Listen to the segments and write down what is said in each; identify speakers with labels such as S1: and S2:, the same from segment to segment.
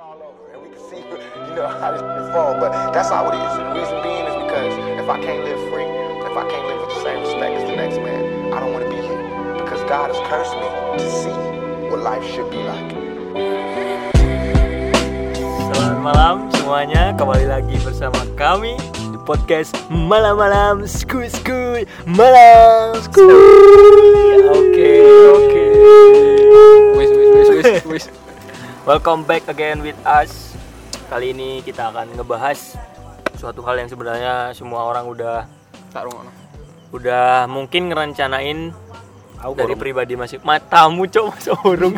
S1: all over, and we can see, you know, how this shit fall, but that's all it is. And the reason being is because if I can't live free, if I can't live with the same respect as the next man, I don't want to be here because God has cursed me to see what life should be like.
S2: Selamat malam semuanya, kembali lagi bersama kami di podcast malam-malam skuy skuy malam skuy. Oke oke.
S3: Wis wis wis wis wis.
S2: Welcome back again with us. Kali ini kita akan ngebahas suatu hal yang sebenarnya semua orang udah
S3: Tak rungokno.
S2: udah mungkin ngerencanain dari pribadi masih matamu cok masuk urung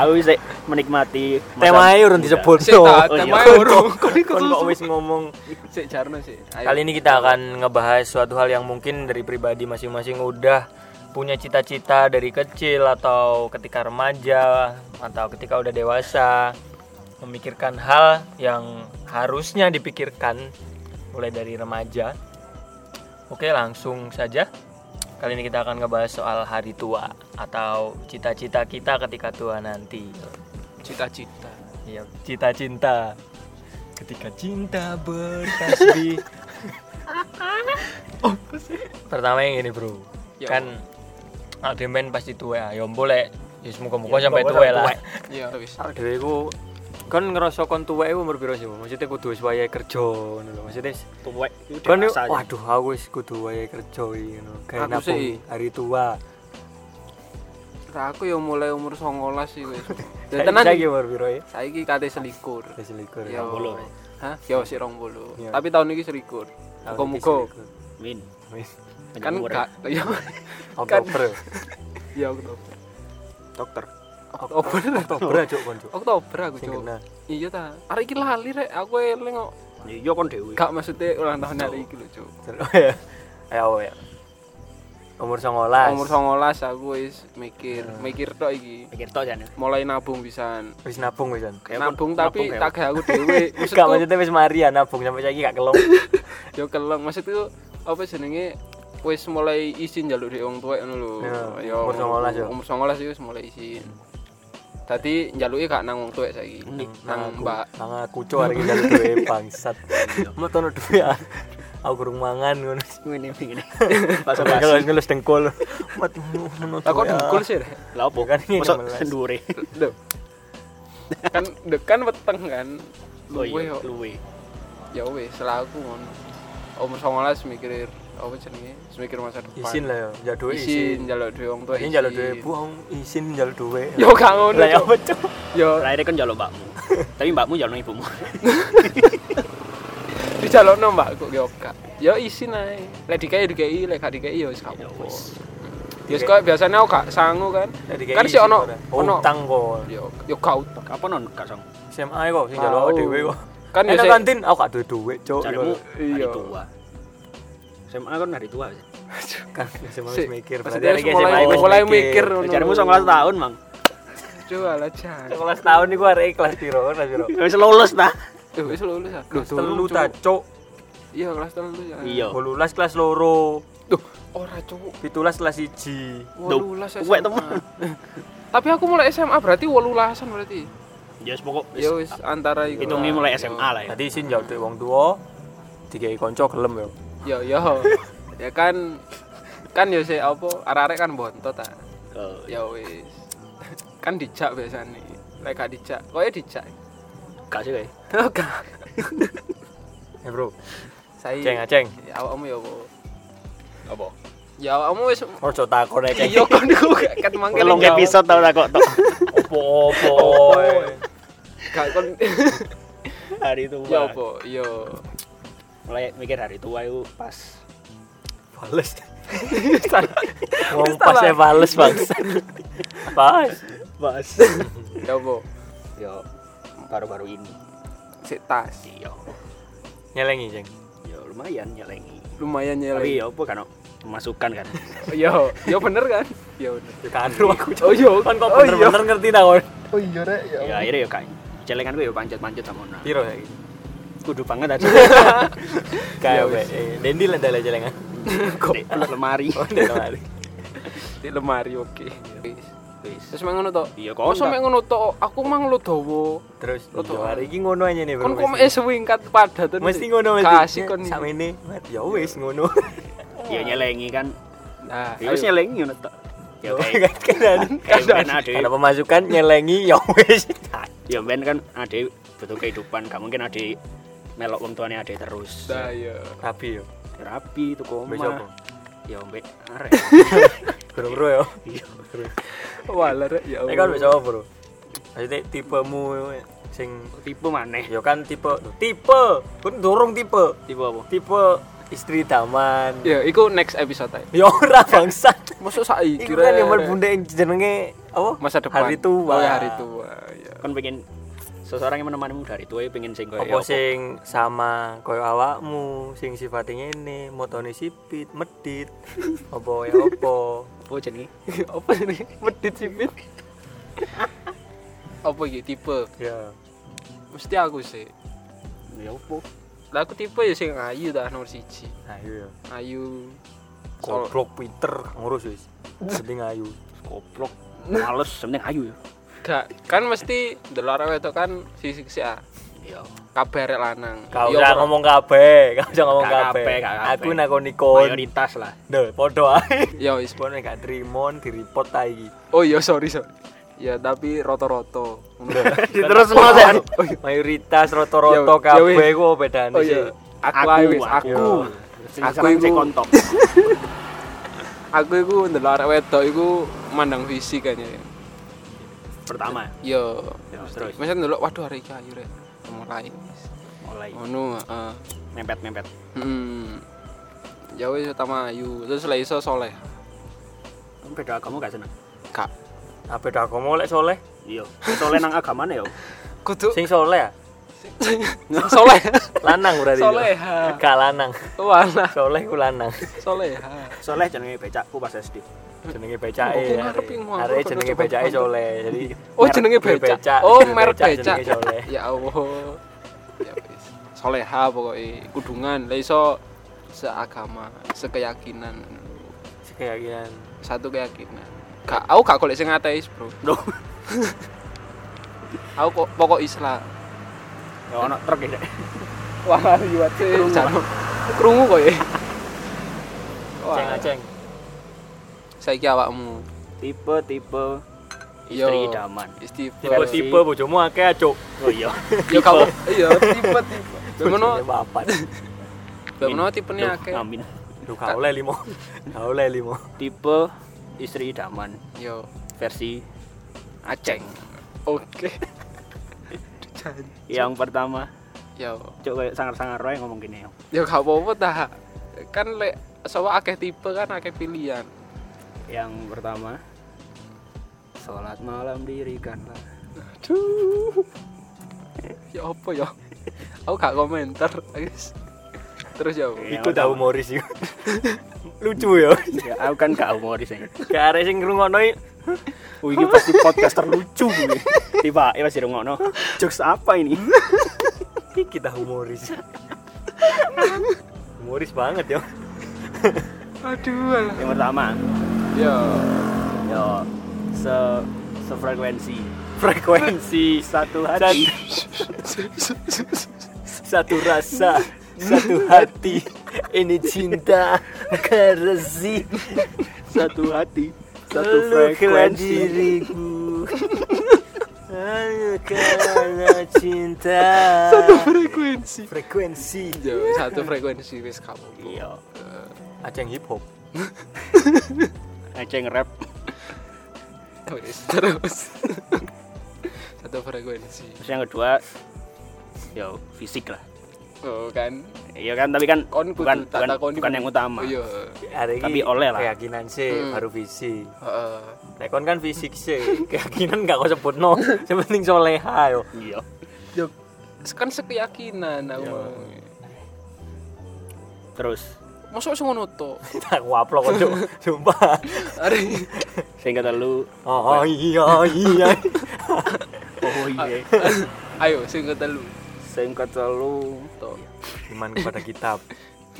S4: Aku sih menikmati
S2: temanya urung disebut
S3: Sik,
S2: cok.
S3: tak-
S2: Oh, iya.
S3: temanya urung.
S2: Kon- kon kok wis ngomong
S3: Sik jarno sik. Ayo.
S2: Kali ini kita akan ngebahas suatu hal yang mungkin dari pribadi masing-masing udah punya cita-cita dari kecil atau ketika remaja atau ketika udah dewasa memikirkan hal yang harusnya dipikirkan mulai dari remaja. Oke, langsung saja. Kali ini kita akan ngebahas soal hari tua atau cita-cita kita ketika tua nanti.
S3: cita-cita.
S2: Iya, cita-cinta. Ketika cinta bertasbih. Pertama yang ini, Bro.
S3: Ya
S2: kan ada men pasti tua, ya boleh. Ya semoga-moga sampai tua lah.
S3: Iya wis.
S2: Arek dhewe iku kon ngerasa kon tuwek iku umur piro sih? Bu? Maksudnya kudu wis wayahe kerja ngono lho. Maksudnya wis-
S4: tuwek.
S2: kon yuk,
S4: ya.
S2: waduh aku wis kudu wayahe kerja iki ngono. Kayak
S3: ya. Aku
S2: nabung
S3: sih-
S2: hari tua.
S3: Lah aku ya mulai umur 19 sih wis. Ya
S2: Tenan
S3: tenan.
S2: iki umur piro ya?
S3: Saiki kate selikur.
S2: Wis selikur.
S3: Ya
S2: Tahun
S4: bolo.
S3: Hah? Ya sik 20.
S2: Iya.
S3: Tapi tahun ini selikur.
S2: iki
S3: Muga-muga.
S2: selikur.
S4: Min.
S2: Wis.
S3: Kan gak ya. Kan-
S2: Oktober.
S3: Ya Oktober.
S4: dokter.
S2: Oktober Oktober aja kon Cuk.
S3: Oktober aku
S2: Sing
S3: cuk.
S2: kena.
S3: Iya ta. Arek iki lali rek aku eling kok.
S4: Iya kon dhewe.
S3: Gak maksudnya ulang tahun hari iki lho cuk.
S2: Ayo ayo. Umur 19.
S3: Umur 19 aku wis mikir, mikir tok iki.
S4: Pikir tok jane.
S3: Mulai nabung pisan.
S2: wis nabung wis.
S4: Kayak
S3: nabung
S4: kon-
S3: tapi
S4: nabung
S3: tak gak aku dhewe.
S2: Gak
S3: Maksudku
S2: maksudnya wis mari ya nabung sampai saiki gak kelong.
S3: yo keleng maksudku apa jenenge wis mulai isin jaluk di wong tuwek ngono lho.
S2: Ya,
S3: Ya,
S2: umur 19 yo.
S3: Umur 19 sih wis mulai isin. Tadi njaluke gak nang wong tuwek saiki. Nang
S2: aku-
S3: mbak.
S2: Nang aku cok arek njaluk duwe bangsat. Metono duwe ah. aku kurang mangan ngono.
S4: Ngene ngene. Bahasa
S2: Sampai
S4: basi.
S2: ngelus dengkul. Mat ngono. ya.
S3: Lah kok dengkul sih? Rek?
S4: Lah opo?
S2: Kan ini
S4: Mosok
S2: 16.
S4: sendure.
S3: Lho. kan dekan weteng kan.
S4: Oh iya,
S3: Luwe yo.
S4: luwe.
S3: Ya wis selaku ngono. Umur 19 mikir apa jenenge? Wis Mikir masa depan.
S2: Isin lah ya, njaluk duwe isin.
S3: Isin njaluk di wong tuwek.
S2: Ini njaluk duwe bu, aku isin njaluk duwe.
S3: Yo gak ngono.
S2: Lah ya
S3: Cuk.
S2: apa cok?
S3: Yo
S4: Terakhir kan jalo mbakmu. Tapi mbakmu jalo ibumu.
S3: dijalokno mbakku ki oka. Ya isin ae. Lek dikei dikei, lek gak dikei ya wis gak
S4: Ya
S3: apa-apa.
S4: wis.
S3: Ya wis kok biasane aku gak sangu kan. Kan sih ono ono
S2: utang kok.
S3: yo yo gak utang.
S4: Kapan non gak song?
S2: SMA kok sing njaluk awake
S3: Tau.
S2: dhewe kok.
S3: Kan ya
S2: Enak
S3: sih-
S2: kantin aku gak duwe duit, Cuk.
S4: Carimu hari
S3: Iya.
S4: tua. SMA kan hari tua. wis.
S2: kan SMA wis
S3: Sik.
S2: mikir.
S3: Maksudnya harus mulai- mulai mikir.
S4: Ya, Carimu 19 tahun, Mang.
S3: Coba lah jan.
S2: 19 tahun iku arek kelas piro? Kelas piro?
S4: Wis lulus ta?
S3: Eh wis lulus ah. Loh, durung,
S2: Telu
S3: Cuk.
S2: ta, Cuk.
S3: Iya kelas telu ya.
S4: Iya.
S2: 18 kelas loro,
S3: Duh, ora cuk.
S2: 17 kelas 1.
S4: Duh,
S3: 18
S4: kuwek
S3: SMA.
S4: temen.
S3: Tapi aku mulai SMA berarti 18-an berarti.
S4: Ya wis pokok wis.
S3: Ya wis antara iku.
S4: Hitungi
S3: lah.
S4: mulai SMA lah ya.
S2: Dadi isin jauh duit wong tuwa, dikai kanca gelem yo.
S3: Yo yo. Ya kan kan yo sih apa arek-arek kan bontot ah.
S4: Eh,
S3: Ya wis. Kan dijak biasane. Lek gak dijak, koyo dijak.
S4: Eh, Gak sih kayak.
S3: Oke.
S2: Eh bro,
S3: Saya
S2: ceng aceng.
S3: Ya, awakmu ya apa?
S4: Apa?
S3: Ya awakmu wis
S2: Ojo takon ae ceng.
S3: Iya kan iku gak ket mangkel.
S4: Telung
S3: jawab.
S4: episode tau tak kok tok.
S2: Opo-opo.
S3: Gak kon.
S4: Hari tua.
S3: Ya apa? Yo.
S4: mulai mikir hari tua itu pas
S2: Fales. Wong pas e fales bangsa. Pas.
S4: pas
S3: Ya apa?
S4: yo baru-baru ini
S3: Sik tas.
S4: yo
S2: Nyelengi ceng.
S4: yo lumayan nyelengi
S3: Lumayan ya.
S4: tapi yo apa kan masukan kan
S3: Yo, yo bener kan? Yo bener.
S2: Kan lu aku ceng.
S3: Oh yo,
S2: Kan kok
S3: oh iya.
S2: bener-bener ngerti ta kon.
S3: Oh iya rek ya.
S4: ya akhirnya yo kan celengan gue yo panjat-panjat sama orang
S2: Piro saiki?
S4: kudu banget aja
S2: Kayak
S3: Ya,
S2: we.
S3: wis.
S2: Iya, Dendi lah kan? dalah celengan.
S4: Di lemari
S2: Oh, dalah.
S3: Di lemari oke. Wis.
S4: Wis.
S3: Terus mek ngono tok.
S4: Iya, kon
S3: Masa
S4: tak-
S3: mek ngono tok, aku mang lu dawa.
S2: Terus
S3: Lo tuh.
S2: iya, hari ini ngono aja nih bro.
S3: Kon kok
S2: mesti.
S3: mek sewingkat padat tuh.
S2: mesti ngono mesti.
S3: Kasih kon.
S2: sama ini. Ya wis ngono.
S4: Ya nyelengi kan.
S3: Nah,
S4: Ya wis
S3: ayo.
S4: nyelengi ngono tok. Ya
S2: Oke,
S4: kayak
S2: kan kan.
S4: kayak ben
S3: Nah,
S4: ade.
S2: Karena pemasukan nyelengi ya wis.
S4: Ya ben kan ade butuh kehidupan, gak mungkin ade melok wong tuane ade terus.
S3: Nah, iya.
S2: Rapi yo.
S4: Terapi tuku
S2: Mbak siapa?
S4: omah. Ya mbek arek.
S2: Bro-bro yo.
S4: Iya.
S3: Walah rek ya.
S2: Nek kan
S3: Allah.
S2: wis apa bro? Maksudnya tipemu sing
S4: Tipe maneh.
S2: yo kan tipe tipe kan dorong tipe
S4: Tipe apa?
S2: tipe istri taman
S3: Ya, iku next episode ae.
S2: ya ora bangsat
S3: Masuk saiki
S2: Iku kan
S3: rek.
S2: yang berbunda yang jenenge apa?
S3: masa depan.
S2: Hari tua.
S3: Oh, ya, hari tua. Ya.
S4: Kan pengen seseorang yang menemanimu dari tua ya pengen sing koyo
S2: Apa sing sama koyo awakmu sing sifatnya ini motone sipit, medit. Apa ya apa?
S4: apa jenenge?
S3: apa ini medit sipit apa ya tipe
S2: Ya.
S3: mesti aku sih
S4: Ya apa?
S3: lah aku tipe ya sing ayu dah nomor siji
S2: Ayo ya.
S3: ayu Sol-
S2: Goblok pinter ngurus wis. Penting ayu.
S4: Goblok. Males, penting ayu ya.
S3: gak kan mesti delok arek wedok kan sisi si A
S4: Iya.
S3: kabar lanang
S2: Kau
S3: Iya,
S2: usah
S3: bro.
S2: ngomong kabeh, kau usah ngomong
S4: Gak
S2: kabeh.
S4: kabeh, gak kabeh.
S2: Aku nakoni kon.
S4: Prioritas lah.
S2: Duh, podo ae.
S3: ya wis
S2: Pon gak trimo di report ta iki.
S3: oh iya sorry sorry ya tapi roto-roto
S2: Iya, Terus ngono Sen. Mayoritas roto-roto
S3: Ya, ya wis.
S2: kabeh ku apa bedane
S3: oh
S2: sih?
S3: iya aku ayu wis aku
S2: iya.
S3: Aku
S4: Aku iku
S3: iku-
S4: kontok.
S3: aku iku ndelok arek wedok iku mandang fisik kan ya
S4: Pertama.
S3: yo
S4: Ya, terus
S3: mesti ndelok waduh arek iki ayu rek mulai
S4: mulai
S3: ngono heeh
S4: mempet-mempet.
S3: Hmm. Ya wis utama ayu, terus lah iso soleh.
S4: Kamu beda agama gak seneng?
S3: Kak.
S2: Apa dah aku mau Ah, lek soleh?
S4: Iya. Soalnya nang agamane ya.
S3: Kudu
S2: Sing soleh ya?
S3: soleh.
S2: lanang berarti
S3: Soleha.
S2: gak lanang
S3: Wala,
S2: soleh ku lanang
S3: soleh.
S4: Soalnya jenenge becakku pas SD.
S2: jenenge
S3: Kok
S2: becae
S3: ngarepi ngomong,
S2: arek
S3: kok
S2: jenenge
S3: coba-coba
S2: becae
S3: mantep.
S2: soleh jadi
S3: Oh,
S2: merek
S3: jenenge
S2: gue
S3: becak. Oh,
S2: Gue
S3: merek becak.
S2: jenenge soleh
S3: Ya Allah. Ya wis. Soleha pokoknya kudungan, lah iso seagama, sekeyakinan.
S2: sekeyakinan
S3: Satu keyakinan. Gak, aku gak golek sing ateis, Bro.
S4: Loh,
S3: Aku kok pokok Islam.
S4: ya ono truk ya. Dek.
S3: Wah, liwat sih. Krungu kok ya.
S2: ceng aceng
S3: Saiki awakmu.
S4: Tipe-tipe
S3: Yo.
S4: istri idaman.
S3: Istighfar.
S2: tipe-tipe bojomu akeh acuk
S4: Oh iya.
S3: Ya kamu iya tipe tipe. Bemono
S2: Bojomu papat
S3: bemono tipene
S4: Duh,
S3: akeh.
S4: Amin.
S2: lu gak oleh limo gak oleh limo
S4: Tipe istri idaman
S3: Yo
S4: versi
S3: Aceng. Oke.
S4: yang pertama.
S3: Yo
S4: Cuk kayak sangar-sangar wae ngomong gini. ya.
S3: yo
S4: yo.
S3: gak apa-apa ta. Kan lek soal akeh tipe kan akeh pilihan.
S4: Yang pertama Salat malam dirikanlah.
S3: Aduh. Ya apa ya? Aku gak komentar, guys. Terus ya.
S4: Oke.
S2: iku tau humoris iku lucu ya
S4: Ya aku kan gak humoris ya.
S2: gak arek sing ngrungokno iki,
S4: Wih, ini pasti podcast terlucu gue. Tiba, ya masih rungokno. Jokes apa ini?
S2: "Ih, kita humoris humoris banget ya
S3: Aduh. alah.
S4: Yang pertama,
S3: Yo.
S4: yo se sefrekuensi.
S2: frekuensi
S4: Satu hati,
S2: satu rasa satu hati ini cinta kerasi
S4: satu hati, satu
S2: satu
S4: frekuensi.
S2: diriku Hanya karena cinta
S3: Satu frekuensi.
S2: frekuensi
S3: Yo, satu frekuensi wis kamu.
S4: Iya,
S2: aceng hip hop
S4: aceng rap.
S3: Wis, Terus. satu frekuensi.
S4: Terus yang kedua, yo fisik lah.
S3: Oh kan.
S4: Iya kan, tapi kan
S3: kon kudu
S4: bukan
S3: tak
S4: bukan,
S3: takoni
S4: bukan yang utama.
S3: iya
S2: hari
S4: Tapi oleh lah.
S2: keyakinan sih
S3: Hmm.
S2: baru visi
S3: heeh
S2: Nek kon kan fisik sih, keyakinan gak kau sebut no. Yang penting soleha yo.
S4: Iya.
S3: kan sekeyakinan aku
S2: Iya.
S3: mau
S4: Terus,
S3: masuk sing ngono to
S2: Tak waplok kok Cuk. sumpah.
S3: ari
S4: sehingga telu.
S2: Oh iya iya.
S4: Oh
S3: Ah.
S4: iya.
S3: ayo sing ketelu
S4: Sehingga telu.
S3: to
S2: Iman kepada kitab.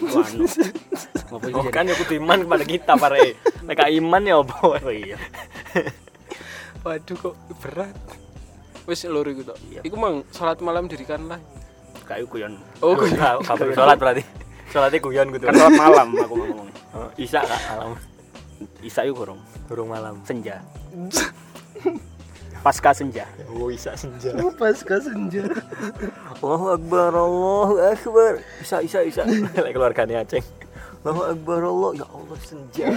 S4: Wano. Ngopo sih
S2: Oh
S4: jadi?
S2: Oh, kan ya kudu iman kepada kita pare. Nek gak iman ya apa?
S4: Oh iya.
S3: waduh kok berat wis lur iku tok iku mang salat malam dirikanlah
S4: kayak guyon
S3: oh
S2: Duh,
S3: guyon.
S2: ka- kabel sholat berarti sholatnya guyon gitu
S4: kan sholat malam aku ngomong
S2: Oh, isak kak malam
S4: isak yuk gorong
S2: turun malam
S4: senja pasca senja
S2: oh isak senja
S4: pasca senja
S2: Allahu Akbar, Allahu Akbar. Isa, isa, isa. Lek keluarganya Aceng. Allahu Akbar, Allah. Ya Allah, senja.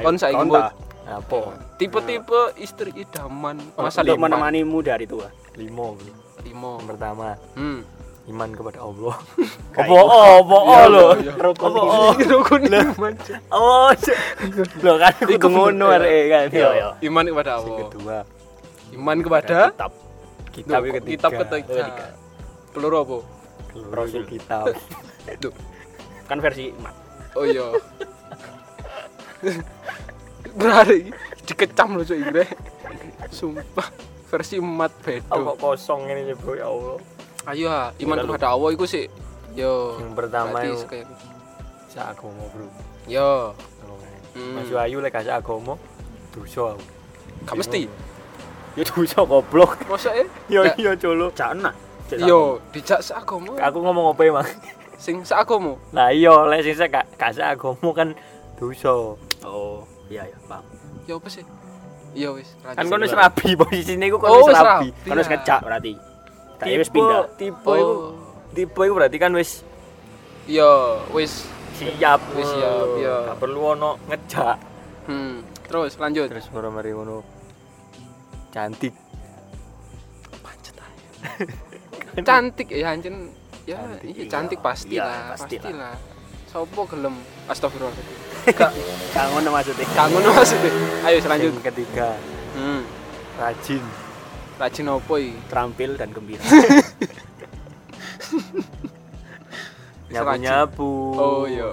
S3: Kon saiki
S4: konta.
S2: Apa?
S3: tipe-tipe istri idaman masa
S4: untuk
S3: lima
S4: menemanimu dari tua
S2: Limo. bro.
S3: lima
S2: Yang pertama,
S3: hmm
S2: iman kepada Allah.
S4: Kayak
S2: Apa? Apa? Lo.
S4: rokok
S2: Apa? oh?
S3: Oh, Iya, rukun iman
S2: Oh, Cek. Lo kan kudu ngono arek kan.
S4: Iya, iya.
S3: iman kepada
S2: Yang
S3: Allah
S2: kedua,
S3: iman kepada
S4: kitab
S2: kitab
S3: Duh,
S2: ketiga.
S3: kitab
S2: Oh, iya,
S3: ketiga peluru apa
S2: Rasul kitab.
S3: Duh.
S4: kan versi mak
S3: oh iya berarti dikecam loh cuy gue sumpah versi emat
S2: Aku
S3: bedo
S2: kok kosong ini sih, Bro, ya Allah.
S3: ayo ah, iman
S2: Udah, lu.
S3: kepada Allah itu sih
S2: Iya,
S3: yo
S2: Yang pertama
S3: berarti
S2: itu.
S3: sekalian.
S2: Sak agomo, Bro.
S3: gitu. yo Hmm.
S2: Mas Ayu lek sak agomo, dosa aku.
S3: gak mesti
S4: ya dosa goblok
S3: masa ya
S2: Yo
S3: Nah,
S2: yo colo.
S4: jana
S3: iya. yo dijak seagama
S2: Aku ngomong apa emang?
S3: sing seagama
S2: Lah iya, lek sing sak kasak agomo kan dosa.
S4: oh iya ya paham
S3: yo apa sih yo wis lanjut.
S2: Kan kono wis rabi posisine iku kono
S3: Oh,
S2: wis
S3: wis
S2: rabi.
S3: rabi.
S4: kan harus
S3: Iya.
S4: ngecak berarti tapi wis
S2: Tipe-
S4: pindah
S2: Tipe
S3: Oh.
S2: iku tipe iku berarti kan wis
S3: yo wis
S2: siap.
S3: Wis siap, iya.
S2: Gak perlu ono ngejak.
S3: hmm terus lanjut
S2: Terus baru mari ngono. Cantik.
S3: pancet aja cantik ya anjen ya
S4: Cantik,
S3: iya,
S4: iya.
S3: cantik pasti
S4: Iya,
S3: lah
S4: pasti
S3: pasti
S4: lah.
S3: lah sopo gelem astagfirullahaladzim gak
S4: gak ngono maksudnya
S3: gak ngono maksudnya ayo lanjut
S2: Yang ketiga,
S3: hmm
S2: rajin.
S3: rajin opo iki
S4: terampil dan gembira
S2: Nyapu-nyapu.
S3: oh iya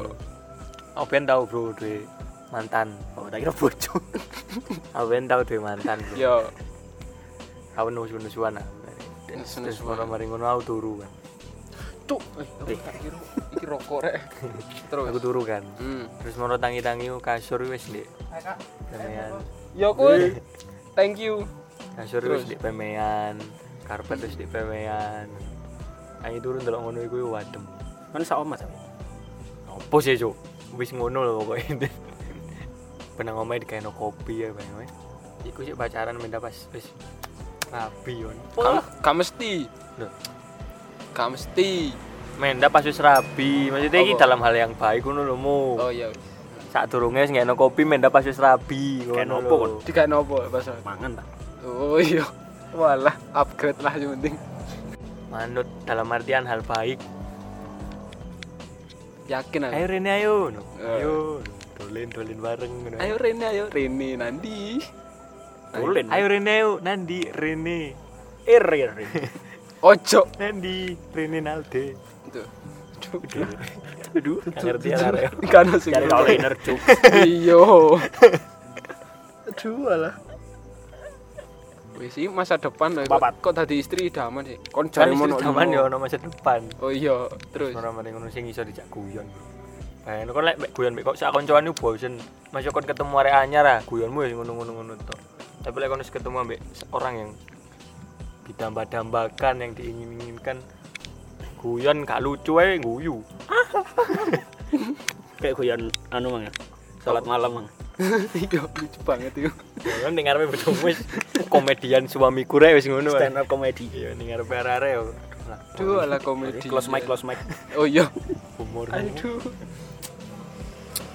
S2: Aku pengen tau bro duwe mantan.
S4: oh tak kira bojo
S2: Aku pengen tau duwe mantan. bro.
S3: yo
S2: Aku nus-nusuan. ah. Terus
S3: Nus-nusuan.
S2: baru mari ngono aku turu kan.
S3: cuk eh aku tak kira iki rokok rek terus
S2: Aku turu kan.
S3: hmm
S2: terus mau tangi-tangi oh, kasur wis ndek pemean
S3: yo kun Ya, thank you
S2: kasur wis
S3: Terus?
S2: ndek pemean karpet wis ndek pemean ayo turun delok ngono iku wadem
S4: kan sak omah tapi
S2: opo sih ya, cuk wis ngono lho pokoke pernah ngomel dikeno kopi ya bang we. iku sih pacaran minta pas wis rabi yon
S3: Gak- gak mesti
S2: Loh.
S3: gak mesti
S2: menda pas wis rabi maksudnya iki
S3: Apa?
S2: dalam hal yang baik ngono lho mu
S3: oh iya wis.
S2: saat turunnya wis ngeno kopi menda pas wis rabi
S4: Kayak
S2: ngono
S4: nopo,
S2: lho.
S4: kon?
S3: Dikak nopo bahasa
S4: mangan tak
S3: oh iya walah upgrade lah yang penting
S2: manut dalam artian hal baik
S3: yakin aku
S2: ayo Rene ayo No.
S3: Eh.
S2: ayo dolin dolin bareng ngono.
S3: Ayo Rene, ayo Rene nanti.
S4: tulen
S2: ayo Rene ayo Nandi Rene Er,
S4: ir ir ir.
S3: Ojo.
S2: Nandi Rene Nalde
S3: Tuh.
S4: aduh
S2: Gak ngerti ya arek
S3: Kan sing.
S4: cari kalau inner cuk
S3: Iya. Aduh alah. Wis iki masa depan lho.
S4: Papat.
S3: Kok, kok tadi istri idaman sih? Kon
S2: kan
S3: jare mono.
S2: istri zaman ya ono masa depan
S3: Oh iya, terus.
S2: orang mari ngono sing iso dijak guyon bro Bayangin kon lek mek guyon mek kok sak koncoan iku bosen masuk kon ketemu arek anyar ah guyonmu ya ngono-ngono ngono tok tapi lek kon wis ketemu ambek orang yang didamba-dambakan yang diingin-inginkan guyon gak lucu ae guyu
S4: kayak guyon anu mang ya salat malam mang
S3: Iya, lucu banget itu.
S2: Kan dengar apa betul wis komedian suamiku rek wis ngono.
S4: stand up comedy
S2: Iya dengar perare yo. Lah,
S3: Aduh alah komedi.
S4: close mic close mic
S3: Oh iya.
S2: Humor.
S3: Aduh.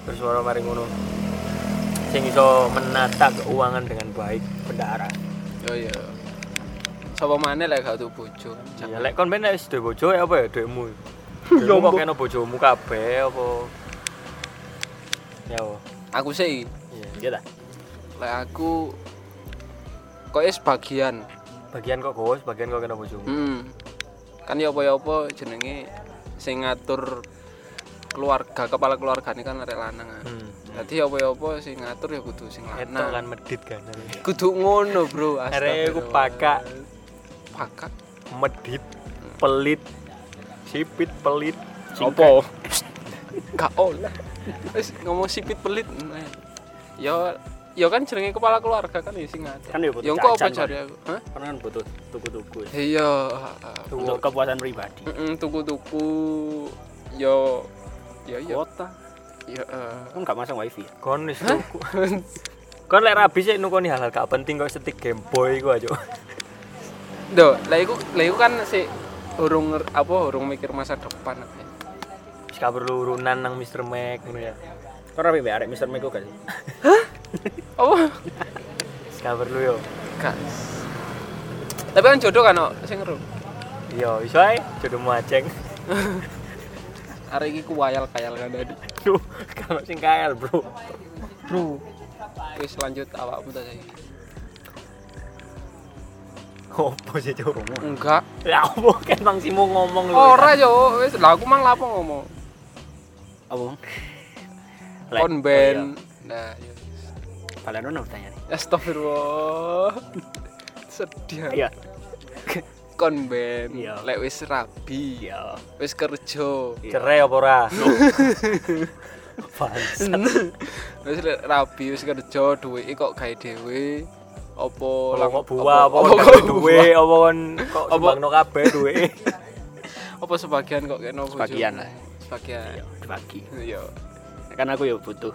S2: Terus ora mari ngono. Sing iso menata keuangan dengan baik bendahara.
S3: Oh iya. Sapa maneh lek gak tuh bojo.
S2: Ya lek kon ben nek wis duwe bojo ya apa ya duwemu. Ya kok kena bojomu kabeh apa. Ya. wo.
S3: Aku sih
S2: Iya.
S4: iya dah
S3: lek aku kok sebagian
S2: Bagian kok gowes, bagian kok kena bojomu.
S3: Hmm. Kan ya apa-apa jenenge sing ngatur keluarga, kepala keluargane kan arek lanang. ah.
S2: Hmm.
S3: Dadi apa-apa sing ngatur ya kudu sing
S2: Eto kan
S3: lanang.
S2: medit kan.
S3: Kudu ngono,
S2: Arek
S3: Bro.
S2: iku
S3: Astagfirullah.
S2: pakak
S3: Pakak.
S2: medit pelit sipit pelit
S4: Sopo?
S3: Gak olah. Wis ngomong sipit pelit. Nah, Ya ya kan jenenge kepala keluarga kan ya sing ngatur.
S4: Kan ya butuh
S3: Ya engko apa
S4: jajan,
S3: jare
S4: Pak.
S3: aku? Hah? Eh,
S4: Karena kan butuh tuku-tuku ya.
S3: Iya.
S4: untuk kepuasan pribadi.
S3: Heeh, tuku-tuku yo ya ya
S4: Kuota
S3: ya eh.
S4: kan nggak masang wifi. ya?
S2: kon wis tuku. kon lek rabi sih nukoni hal-hal gak penting kok setik game boy ku aja
S3: Do, lah iku lah iku kan si urung nger- apa urung mikir masa depan.
S2: wis gak perlu urunan nang Mr. Mac ngono ya
S4: Kau rapi be arek Mister Meko gak sih?
S3: Oh,
S2: wis gak perlu yo
S3: gas. Tapi kan jodoh kan oh, sing ngeru.
S2: iya iso ae jodohmu aceng
S3: Arek iki ku wayal kayal kan tadi.
S2: duh kalau sing kael bro
S3: Bro. Wis lanjut awakmu ta saiki.
S2: opo sih cuk
S3: Enggak.
S2: ya opo kan bang simu ngomong lho
S3: Ora yo, wis lah aku mang lapo ngomong.
S4: Apa? Lek-
S3: On band. Nah, yo.
S4: iya. Kalian udah bertanya nih.
S3: Astagfirullah. Sedih.
S4: Iya.
S3: Kon band.
S4: Iya.
S3: Lek wis rabi.
S4: Iya.
S3: Wis kerja.
S2: cerai apa ora Bangsat.
S3: Wis lek rabi wis kerja duwe kok gawe dhewe apa
S2: Apa
S3: lang-
S2: kok buah apa
S3: apa
S2: kok
S3: kok
S2: duwe apa kon kok sumbangno kabeh duwe
S3: apa sebagian kok kena bojomu?
S4: Sebagian lah.
S3: Sebagian.
S4: Iya. Dibagi.
S3: Iya.
S4: Kan aku ya butuh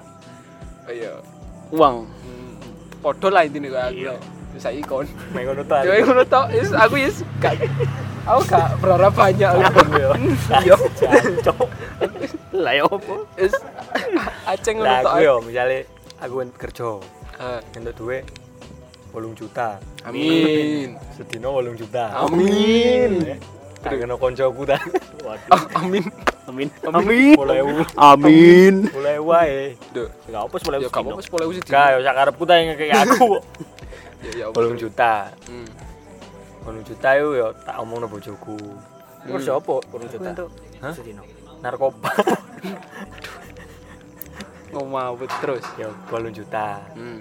S3: Iya.
S4: uang.
S3: Hmm. Padha lah intine kok aku. Wis saiki kon.
S2: mek ngono ta
S3: Yo ngono tok, is aku is gak aku gak berharap banyak. Yo.
S2: cok
S4: Lah ya opo?
S3: Is aceng ngono
S2: lah
S3: tok. eh.
S2: aku
S3: ae.
S2: yo misale aku kerja
S3: Ah,
S2: entuk duwe 8 juta
S3: Amin.
S2: sedina 8 juta
S3: Amin.
S2: tak kena koncoku ta
S4: Waduh.
S3: Ah, Amin.
S4: Amin.
S2: amin boleh
S4: Amin.
S2: boleh wae
S3: Duh.
S4: Enggak apa boleh
S3: Ya gak apa-apa
S4: sedino.
S3: 10 ewu sih.
S2: gak yo ya sak karepku ta yang kayak aku
S3: Ya ya. apa.
S2: 8 juta
S3: Hmm.
S2: 8 juta yo yo tak omongno bojoku terus yo opo 8 juta Hah?
S4: Sedino.
S2: narkoba
S3: Ngomawut terus.
S2: yo 8 Ya juta
S3: Hmm.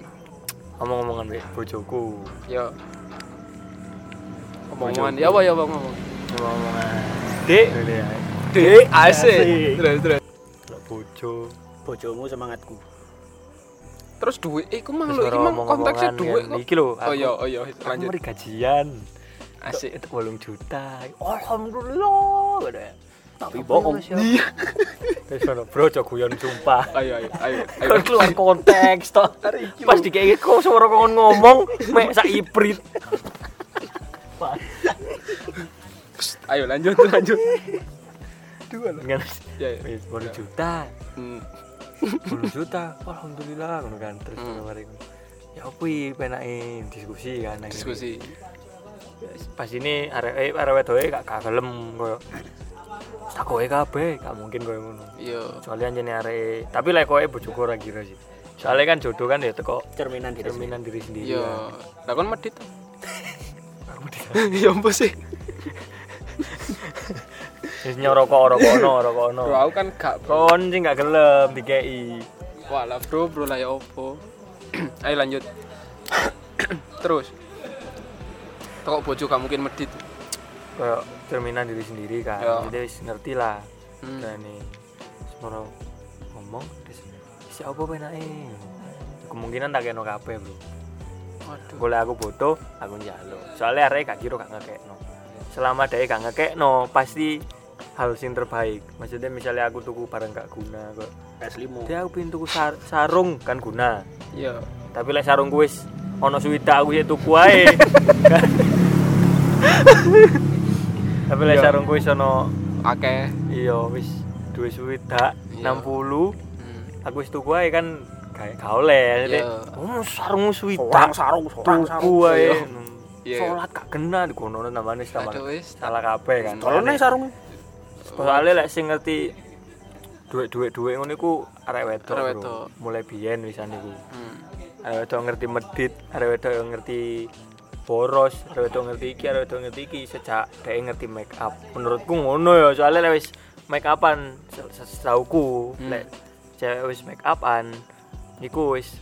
S2: omong-omongan mbek bojoku
S3: Ya. Omongan ya apa ya apa ngomong.
S2: omong-omongan ya. dik
S3: Dek
S4: asik.
S3: asik. Terus terus.
S2: Lek bojo
S4: Bojomu semangatku.
S3: Terus duit iku mang
S2: terus
S3: lho,
S2: ora
S3: iki mang
S2: omong-omongan
S3: konteksnya duit
S2: kan.
S3: kok.
S2: iki lho
S3: Oh iya, oh iya,
S2: lanjut
S3: lanjut.
S2: mari gajian
S3: Asik.
S2: itu 8 juta alhamdulillah gitu ya.
S4: Tapi bohong.
S3: Iya.
S2: terus ono bro cok guyon sumpah
S3: Ayo ayo ayo. ayo.
S2: kan keluar konteks toh pas dikeke kok suara kon ngomong mek sak ibrit
S3: Ayo lanjut lanjut.
S2: dengan
S3: Ya, ya.
S2: wis 8 juta
S3: Hmm.
S2: 10 juta alhamdulillah ngono kan terus
S3: Hmm.
S2: kemarin ya opo iki penake diskusi kan akhirnya.
S3: Diskusi.
S2: pas ini arek eh, arek wedoke gak gak gelem koyo tak kowe kabeh gak mungkin koyo ngono
S3: Iya.
S2: soalnya anjene arek tapi lek kowe bojoku ora kira sih soalnya kan jodoh kan ya teko
S4: Cerminan diri. sendiri.
S2: cerminan diri sendiri
S3: Iya.
S2: kan.
S3: Lah kon medit. Ya ampun sih.
S2: Wis nyoroko rokono rokono
S3: Bro, aku kan gak bro.
S2: kon sing gak gelem dikei
S3: Walah bro, bro lah ya opo. Ayo lanjut. Terus. Tokok bojo gak mungkin medit.
S2: koyo cerminan diri sendiri
S3: Iya.
S2: kan jadi wis ngerti lah
S3: Hmm.
S2: dan nih semoro ngomong terus siapa penake kemungkinan tak kena kabeh bro
S3: Waduh.
S2: boleh aku butuh aku njalo soalnya arek gak kira gak ngekekno selama dia gak ngekekno pasti hal sing terbaik maksudnya misalnya aku tuku barang gak guna kok
S4: Aslimu.
S2: dia aku pin tuku sar- sarung kan guna
S3: Iya.
S2: tapi lek sarung wis ono suwita aku ya tuku ae tapi lek
S3: Iya.
S2: sarung wis ono
S3: Akeh.
S2: iya wis dua suwita
S3: Iya.
S2: 60
S3: Hmm.
S2: aku wis tuku ae kan gak gak oleh Jadi,
S3: Iya.
S2: oh sarung suwita
S4: Orang sarung, orang
S2: tuku
S4: sarung.
S2: ae
S3: Iya. Iya.
S2: sholat gak kena di kono nambahne tambah
S3: Aduh, wis.
S2: salah kabeh kan
S4: Tolone sarung.
S2: soalnya lek sing ngerti duit-duit duit ngono iku arek wedok
S3: Arek
S2: bro.
S3: wedok.
S2: mulai biyen wisan iku
S3: Hmm.
S2: arek wedok ngerti medit arek wedok yang ngerti boros arek wedok ngerti iki arek wedok ngerti iki sejak dhek ngerti make up menurutku ngono ya soalnya lek wis make upan se- se- setauku
S3: Hmm.
S2: lek cewek wis make upan iku wis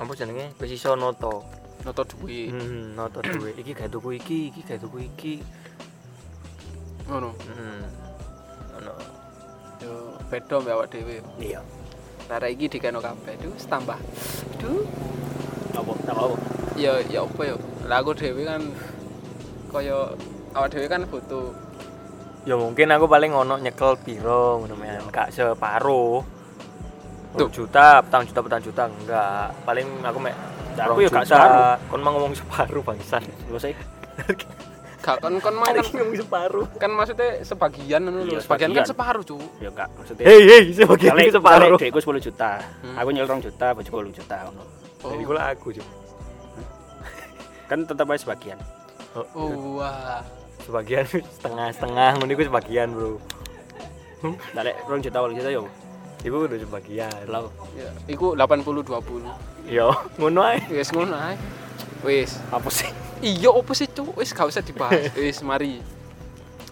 S2: apa jenenge wis iso noto
S3: Noto duit.
S2: Hmm, noto duwe. Iki gak tuku iki, iki gak tuku iki.
S3: Ngono.
S2: Hmm. Ono.
S3: Yo, beda mbek awak dhewe.
S4: Iya.
S3: arek iki dikeno kabeh. Duh, tambah. Duh,
S4: Apa? Tambah apa?
S3: ya ya apa ya? Lah aku dhewe kan kaya awak dhewe kan butuh
S2: ya mungkin aku paling ono nyekel piro ngono
S4: Iya.
S2: men gak separuh
S3: Tuh.
S2: Tuh. juta, petang juta, petang juta, enggak. Paling aku mek
S4: Aku ya
S2: rong
S4: gak
S2: juta.
S4: separuh.
S2: Kon mau ngomong separuh bangsan.
S4: Lu sih?
S3: gak kon kon mang
S4: Hari
S3: kan,
S4: ini ngomong separuh.
S3: kan maksudnya sebagian ngono lho.
S4: Iya,
S3: Sebagian kan
S4: sebagian.
S3: separuh, Cuk.
S4: Ya enggak, maksudnya.
S2: Hei hei, sebagian
S4: Kali
S2: iki
S4: separuh.
S2: separuh.
S4: Dekku 10 juta.
S3: Hmm.
S4: Aku nyel 2 juta, bojoku 8 juta ngono.
S3: Oh.
S2: Jadi gula aku Cuk.
S4: Kan tetep aja sebagian.
S3: Oh, wah.
S2: Sebagian setengah-setengah ngono iku sebagian, Bro.
S4: Dalek 2 juta 8 juta yo.
S2: Iku udah sebagian.
S4: Lah,
S3: Ya, iku 80 20.
S2: Yo, ngono ae.
S3: Wis ngono ae. Wis.
S4: apa sih?
S3: Iya opo sih cuk? Wis gak usah dibahas. Wis mari.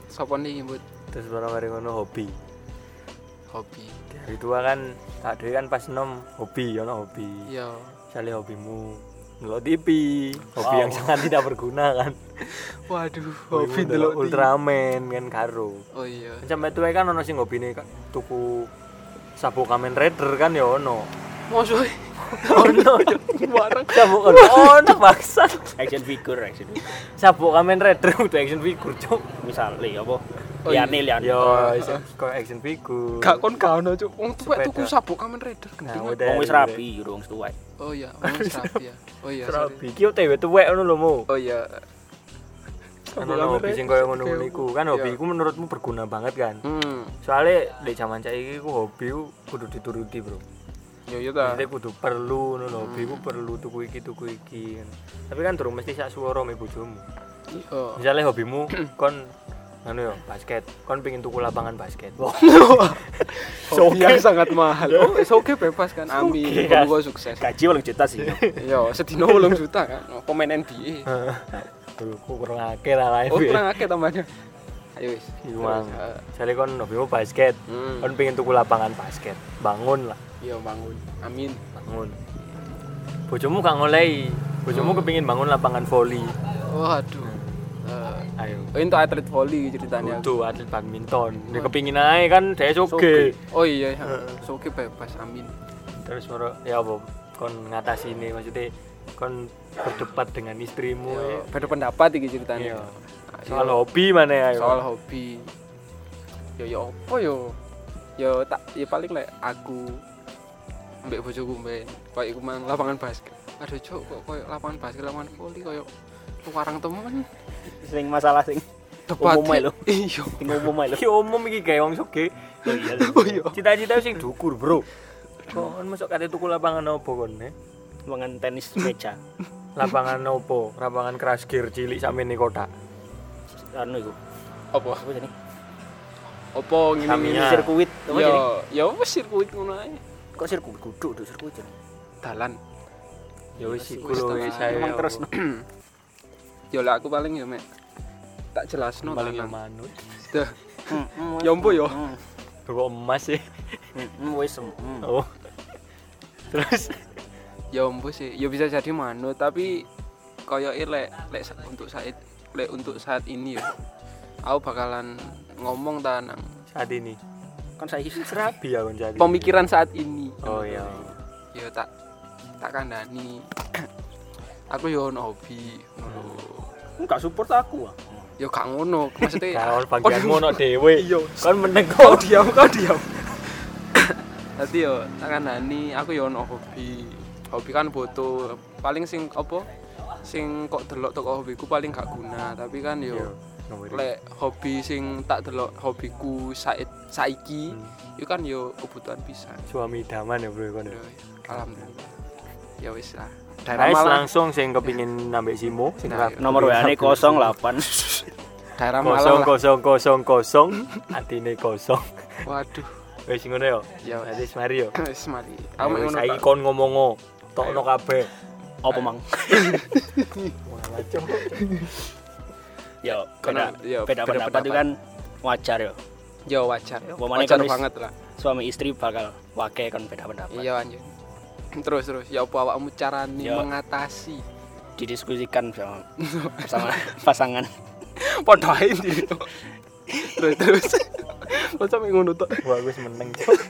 S3: Sopo nih mbut
S2: Terus barang mari ngono hobi.
S3: hobi.
S2: Dari tua kan tak dhewe kan pas nom hobi, ono hobi.
S3: Iya.
S2: Misalnya hobimu ngelok TV, hobi
S4: Wow.
S2: yang sangat tidak berguna kan.
S3: Waduh,
S2: Hobi
S3: hobi
S2: ndelok
S3: delok iya, ultra.
S2: Ultraman kan karo.
S3: Oh iya.
S2: Sampai tuwe kan ono sing hobine kak, tuku sabu Kamen Rider kan ya ono.
S3: Mosok
S2: Ono.
S3: bareng.
S2: Sabu kan ono paksa.
S4: Action figure, action figure.
S2: Sabu Kamen Rider udah action figure, Cuk.
S4: Misalnya apa?
S3: Oh, iya.
S4: Liane, liane.
S2: Yo, Ya, kok action figure.
S3: Gak kon gak ono cuk. Wong tuwek
S2: Sepeda.
S3: tuku sabuk Kamen Rider
S2: Nah,
S3: gendeng.
S2: udah.
S4: Wong wis rabi, yo wong tuwek.
S3: Oh iya, wong serabi ya. Oh iya, sorry.
S2: Serabi. Ki OTW tuwek ngono lho, Mo.
S3: Oh iya.
S2: Ono ono hobi sing koyo ngono iku. Kan hobi iku menurutmu berguna banget kan?
S3: Hmm,
S2: Soalnya di zaman saiki ku hobi ku kudu dituruti, Bro.
S3: yo yo ta.
S2: Maksudnya kudu perlu ngono lho, hobi ku perlu tuku iki tuku iki. Tapi kan durung mesti sak swara me bojomu.
S3: Iya.
S2: Misalnya hobimu kon anu yo basket, kon pengin tuku lapangan basket.
S3: Oh, Hobi yang sangat mahal. Oh, wis oke bebas kan. Amin.
S4: Oke.
S3: Semoga sukses.
S4: Gaji 8 juta sih. yo.
S3: Yo, sedino 8 juta kan. Pemain NBA.
S2: Tuh, ku kurang akeh lah lain.
S3: Oh, kurang akeh tambahnya. Ayo wis.
S2: Iku mang.
S3: Terus,
S2: Misalnya kon hobimu basket,
S3: Hmm.
S2: kon pengin tuku lapangan basket. Bangun lah,
S3: eh, Iya, bangun. Amin.
S2: bangun. Bojomu gak ngolehi. Bojomu
S3: Hmm.
S2: kepengin bangun lapangan voli.
S3: Waduh. Eh,
S2: Ayo.
S3: oh, ini tuh atlet volley ceritanya.
S2: Kudu atlet badminton. Dia
S3: Hmm.
S2: kepingin ae kan dia soge.
S3: Oh iya, iya. Soke bebas. Amin.
S2: Terus moro ya apa kon ngatasi ini maksudnya kon berdebat dengan istrimu
S3: Yo,
S2: ya.
S3: beda pendapat iki ceritanya.
S2: Iya.
S3: Ayo,
S2: Soal hobi mana ya? ayo?
S3: soal hobi. Yo yo apa yo? Yo tak ya paling lek aku ambek bojoku mbek koyo iku mang lapangan basket. Aduh, Cuk, kok koyo lapangan basket, lapangan volley koyo warang temen.
S4: Sing masalah sing
S3: kan? Debat.
S4: Umum ae lho.
S3: Iya.
S4: sing umum ae lho.
S2: Ki umum iki gawe wong soge.
S4: Oh iya.
S2: Cita-cita sing dukur, Bro. Kon masuk kate tuku lapangan opo kon ya?
S4: Mangan tenis meja.
S2: Lapangan opo? Lapangan keras gear cilik sampe ning kotak.
S4: Anu iku.
S3: Apa?
S4: Apa jenenge?
S3: Apa ngene-ngene?
S2: Tamiya.
S4: Sirkuit. Apa
S3: Yo,
S4: jenenge?
S3: yo wis sirkuit ngono ae.
S4: Kok sirkuit duduk duduk sirkuit jenenge.
S3: Dalan.
S2: Ya wis iku
S3: Wis,
S2: lho
S3: tenang.
S2: wis ae.
S4: Emang terus.
S3: Yo Ya lek aku paling yo mek tak jelasno
S2: paling
S3: dalan.
S2: manut.
S3: Duh,
S4: Hmm,
S3: ya Yo mpo yo.
S2: Kok emas sih.
S4: Hmm, Wis.
S2: Oh. Terus
S3: Ya ampun sih, ya bisa jadi manut tapi koyoke lek lek sa- untuk saat lek untuk saat ini ya. Aku bakalan ngomong ta nang
S2: saat ini
S4: Kan saiki
S2: serabi ya kon jadi.
S3: pemikiran saat ini.
S2: Oh iya.
S3: Ya tak tak kandani. aku yo ono hobi ngono. lho.
S4: enggak support aku. ah.
S3: Ya gak ngono, maksudnya
S2: Kawan bagianmu ono dhewe.
S3: Iya.
S2: Kon meneng kok diam kok diam.
S3: Tadi yo tak kandani aku yo ono hobi. Hobi kan butuh paling sing apa? Sing kok delok toko hobiku paling gak guna, tapi kan yo
S2: Ya.
S3: lek hobi sing tak delok hobiku saat saiki itu kan yo kebutuhan bisa
S2: suami idaman ya bro kon.
S3: alhamdulillah ya wis lah daerah
S2: Guys
S3: Malang
S2: langsung sing kepingin nambah simu sing
S3: Nah,
S2: kerap
S4: Nomor WA ne 08.
S3: daerah
S2: kosong
S3: Malang lah.
S2: kosong kosong kosong atine kosong.
S3: waduh
S2: Wis ngono yo.
S3: ya wis
S2: Wis mari yo.
S3: Ya, wis mari aku
S2: Ayo,
S3: mau
S2: Saiki
S3: ngono
S2: kon ngomongo tokno kabeh.
S4: Apa mang? Yo, beda, iya,
S3: Kenapa? Yo,
S4: beda
S3: beda
S4: pendapat itu
S3: pendapat.
S4: kan wajar yo.
S3: ya wajar
S4: Wong
S3: wajar
S4: maning kan
S3: banget lah
S4: Suami istri bakal wake kan beda pendapat.
S3: iya anjir terus terus ya apa awakmu carane
S4: Yo.
S3: mengatasi
S4: Didiskusikan sama, sama pasangan.
S3: padha ae diri to. terus terus kok sampe ngono tok
S2: Wah, wis meneng. Cuk.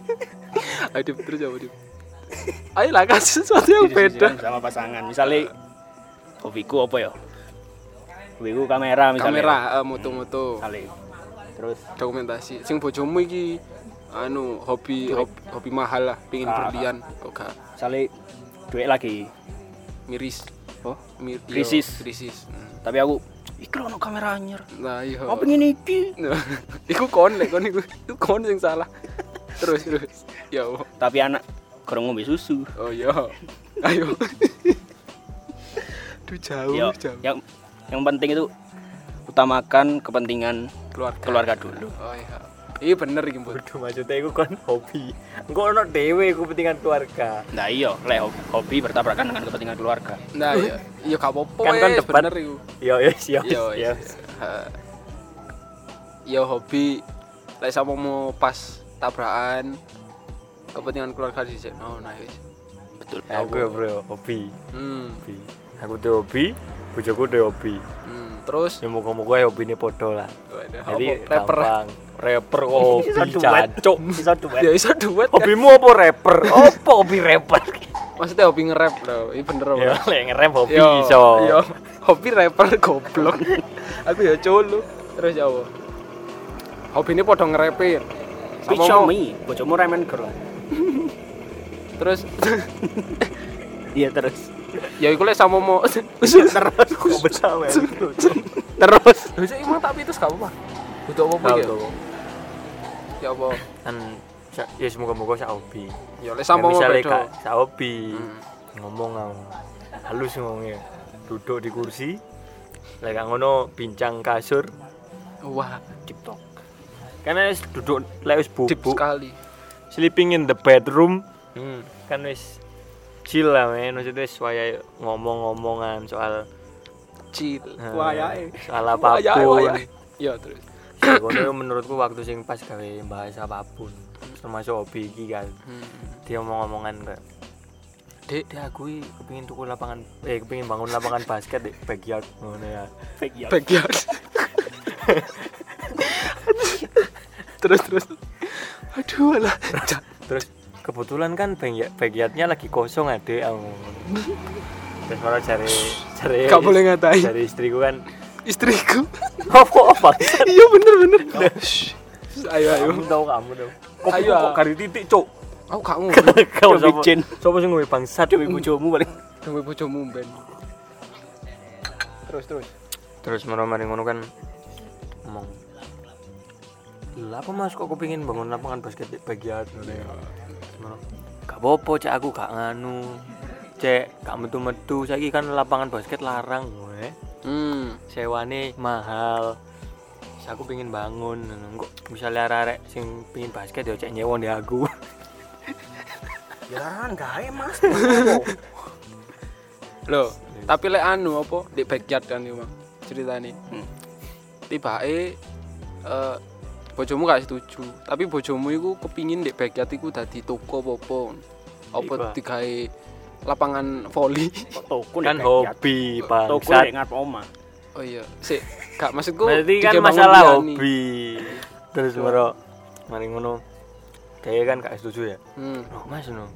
S3: Ayo Dip, terus apa Dip? Ayo lah kasih sesuatu yang beda.
S4: Didiskusikan sama pasangan. Misalnya hobiku apa ya? Hobiku kamera misalnya.
S3: Kamera, eh, moto-moto,
S4: Misalnya. Terus
S3: dokumentasi. Sing bojomu iki anu hobi hobi, hobi mahal lah, pingin
S4: Ah.
S3: berlian kok gak
S4: misalnya duit lagi.
S3: miris.
S4: Oh,
S3: Mir- yo,
S4: Krisis.
S3: krisis. Hmm.
S4: tapi aku iki ono kamera anyer.
S3: Nah, iya.
S4: Aku pengen Oh. iki.
S3: iku kon lek kon iku iku kon sing salah. Terus terus. Ya Allah.
S4: Tapi anak kurang ngombe susu.
S3: Oh iya. Ayo. Duh jauh,
S4: Ya,
S3: jauh.
S4: yang yang penting itu utamakan kepentingan
S3: Keluarga.
S4: keluarga dulu.
S3: Oh iya. Iya bener iki, Bud.
S2: Waduh maksudnya itu kan hobi. Engko ono dhewe iku kepentingan keluarga.
S4: Nah iya, lek hobi, hobi bertabrakan dengan kepentingan keluarga.
S3: Nah, iya. Iya gak apa-apa.
S2: Kan kan
S3: wes,
S2: debat.
S3: bener iku.
S2: Yo yo yo.
S3: Iya,
S2: Yo.
S3: iya. Ha. Iya hobi lek sama mau pas tabrakan kepentingan keluarga di Oh, nah wis.
S4: Betul.
S2: Aku ya bro hobi.
S3: Hmm.
S2: hobi. Aku tuh hobi, bojoku tuh hobi.
S3: hmm. Terus
S2: Ya moga-moga ya hobine padha lah.
S3: Waduh,
S2: Jadi
S3: apa? rapper.
S2: gampang. rapper kok hobi cancuk.
S4: Bisa duet.
S3: Ya iso duet kan.
S2: Hobimu apa rapper? Apa hobi rapper?
S3: Maksudnya hobi nge-rap loh. Iya bener apa?
S2: Ya lek ngerem hobi
S3: Yo,
S2: iso.
S3: yo. hobi rapper goblok. Aku ya colo. Terus ya apa? Hobi ini podo ngerepin.
S4: Tapi Xiaomi, bojomu remen girl.
S3: Terus
S4: Iya terus.
S3: ya iku lek sama mau
S4: terus. Kok betah, men? terus.
S3: Bisa emang tapi itu gak apa-apa. Butuh apa-apa
S2: Tahu
S3: ya?
S2: tuh.
S3: Ya apa?
S2: Kan sa- ya semoga-moga sak hobi.
S3: Ya lek sama mau
S2: misalnya
S3: bedo.
S2: kak sak hobi
S3: Hmm.
S2: ngomong aku halus ngomongnya duduk di kursi lek gak ngono bincang kasur
S3: Wah,
S2: tiktok karena wis duduk lek wis
S3: deep
S2: bubuk
S3: sekali.
S2: sleeping in the bedroom
S3: Hmm.
S2: kan wis chill lah men maksudnya wis wayahe ngomong-ngomongan soal
S3: Chill.
S2: eh,
S4: Wayahe.
S2: soal
S3: Wayahe, wayahe.
S2: apapun
S3: Ya terus.
S2: Ya, kono menurutku waktu sing pas gawe bahas apapun termasuk hobi iki kan
S3: Hmm.
S2: dia ngomong-ngomongan kayak dek dek aku iki kepengin tuku lapangan eh kepengin bangun lapangan basket dek backyard ngono ya
S4: Fake ya.
S3: Bagian. terus terus. Aduh alah. Ja-
S2: terus kebetulan kan backyard backyardnya lagi kosong ade aku ngomong. terus malah cari cari
S3: Gak boleh ngatain.
S2: cari istriku kan
S3: Istriku.
S2: apa apa
S3: iya bener bener ayo ayo
S2: kamu tau kamu tau
S3: Ayo,
S2: kok
S3: ah.
S2: kari titik cok
S3: aku gak ngomong
S2: kau
S4: Demi jin.
S2: siapa sih ngomong bangsat
S4: Demi bojomu paling.
S3: demi bojomu ben terus terus
S2: terus marah-marah ngono kan ngomong lah apa mas kok kepingin bangun lapangan basket di bagian ngono gak apa-apa cek aku gak nganu cek gak metu-metu saiki kan lapangan basket larang gue
S3: hmm
S2: sewane mahal Terus aku pingin bangun ngono. kok misalnya arek-arek sing pingin basket ya cek nyewon ya aku
S4: Jangan Ya, kan gae, Mas.
S3: lo tapi lek anu apa di backyard kan iki mang cerita nih
S4: Hmm.
S3: tiba eh bojomu gak setuju tapi bojomu iku kepingin di backyard iku dadi toko popo
S2: Iku.
S3: apa digawe lapangan voli
S4: Toko ya?
S2: kan hobi
S4: Toko nek
S2: bangsat
S4: ngarep oma.
S3: oh iya sik gak maksudku
S2: berarti kan
S3: digawe bangun
S2: masalah
S3: liani.
S2: hobi terus mero mari ngono dia kan gak setuju ya
S3: hmm.
S2: Loh mas no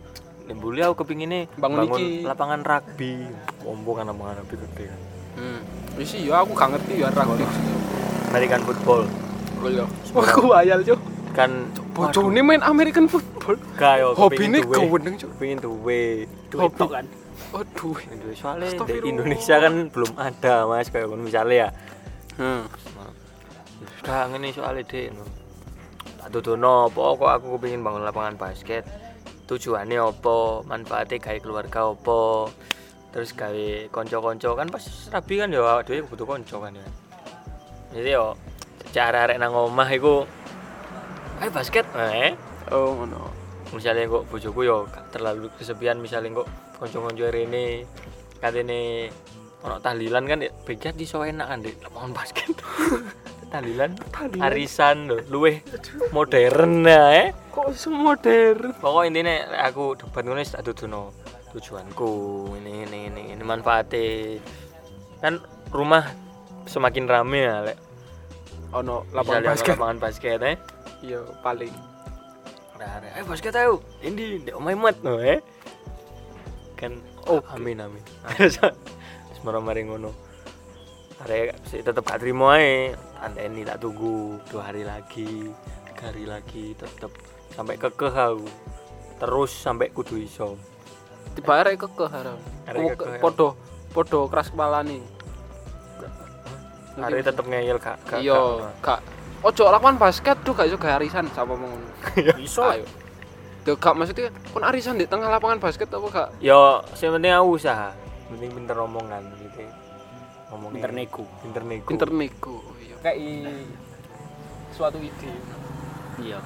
S2: Dembuli aku kepinginnya
S3: Bangun
S2: bangun,
S3: iki.
S2: lapangan rugby Ombo kan lapangan rugby gede kan
S3: hmm. Wis ya aku gak ngerti ya rugby
S2: American football
S3: Oh iya. Wah, aku wayal, Cuk.
S2: Kan
S3: Bojone main American football.
S2: Kayo
S3: Hobine gawendeng, Cuk.
S2: Pengen duwe
S4: Duit
S3: Hobi.
S4: tok kan.
S3: Aduh.
S2: Duwe Soalnya di
S3: Astagfirullah.
S2: Indonesia kan belum ada mas Kayak ngono misalnya ya
S3: Hmm.
S2: Sudah ngene soalnya dek no. Tak tutono apa kok aku kepingin bangun lapangan basket Tujuannya apa Manfaatnya gawe keluarga apa Terus gawe konco-konco Kan pas rabi kan ya awak dhewe butuh konco kan ya Jadi yo Cara arek nang omah iku Ayo basket eh
S3: Oh, ngono.
S2: misalnya kok bojoku yo gak terlalu kesepian misalnya kok konco-konco rene katene ono tahlilan kan ya begitu di enak kan di lapangan basket tahlilan, arisan lho luweh modern nah eh
S3: Kok semua modern?
S2: pokok intinya lek aku debat ngono wis tak duduno tujuanku ini ini ini ini manfaatnya kan rumah semakin rame ya lek
S3: Ono
S2: misalnya
S3: Iya, lapangan
S2: ono
S3: basket.
S2: lapangan basket eh
S3: Iya, paling.
S2: Nah, nah, eh basket ayo. Ini ndek omahe mat no eh. Kan oh amin amin. Wis marang-mari ngono. Arek sih tetep gak trimo ae. Anteni eh. tak tunggu dua hari lagi, tiga hari lagi tetep sampai kekeh aku. Terus sampai kudu iso.
S3: tiba arek ya kekeh haram
S2: Arek
S3: Ku-
S2: kekeh, ya.
S3: podo podo keras kepala nih
S2: Arek tetep ngeyel gak gak-
S3: iya
S2: gak-
S3: gak ojo lakukan basket tuh gak iso gak arisan sama mau ngono.
S4: Iso.
S3: ayo Duh, gak maksudnya kon arisan di tengah lapangan basket apa gak
S2: Yo, sing penting aku usaha. Penting pinter ngomong kan gitu. Ngomong
S4: Pinter nego.
S2: Pinter nego.
S3: pinter nego iya kayak i- suatu ide
S4: Iya.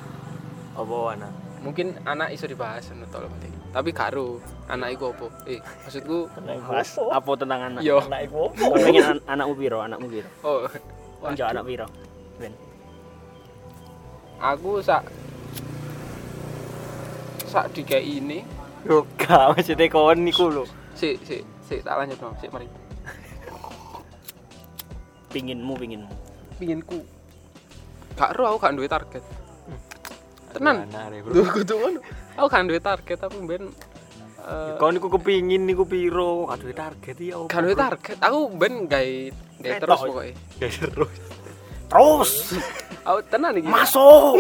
S2: apa ana?
S3: mungkin anak iso dibahas ngono to lho, penting. tapi karo anak iku apa eh maksudku
S4: Bahas apa tentang anak?
S3: yo
S2: iku opo?
S4: Kau Iya. pengen an- anakmu piro, anakmu piro?
S3: oh
S4: Kan jauh anak piro. Ben.
S3: aku sak sak dikei ini
S2: Yo, gak maksudnya kawan niku lho.
S3: si si si tak lanjut dong si mari
S4: Pinginmu, pinginmu.
S3: pinginku gak ro aku gak duwe target tenan
S2: Nah, re, bro.
S3: Duh, kudu ngono. Aku gak duwe target tapi ben eh,
S2: Kau niku kepingin niku piro? Gak duwe target ya.
S3: gak duwe target. Aku ben gawe gawe
S4: Ketok.
S3: terus pokoke.
S2: Gak terus.
S4: Terus
S3: Aku tenan iki.
S4: masuk.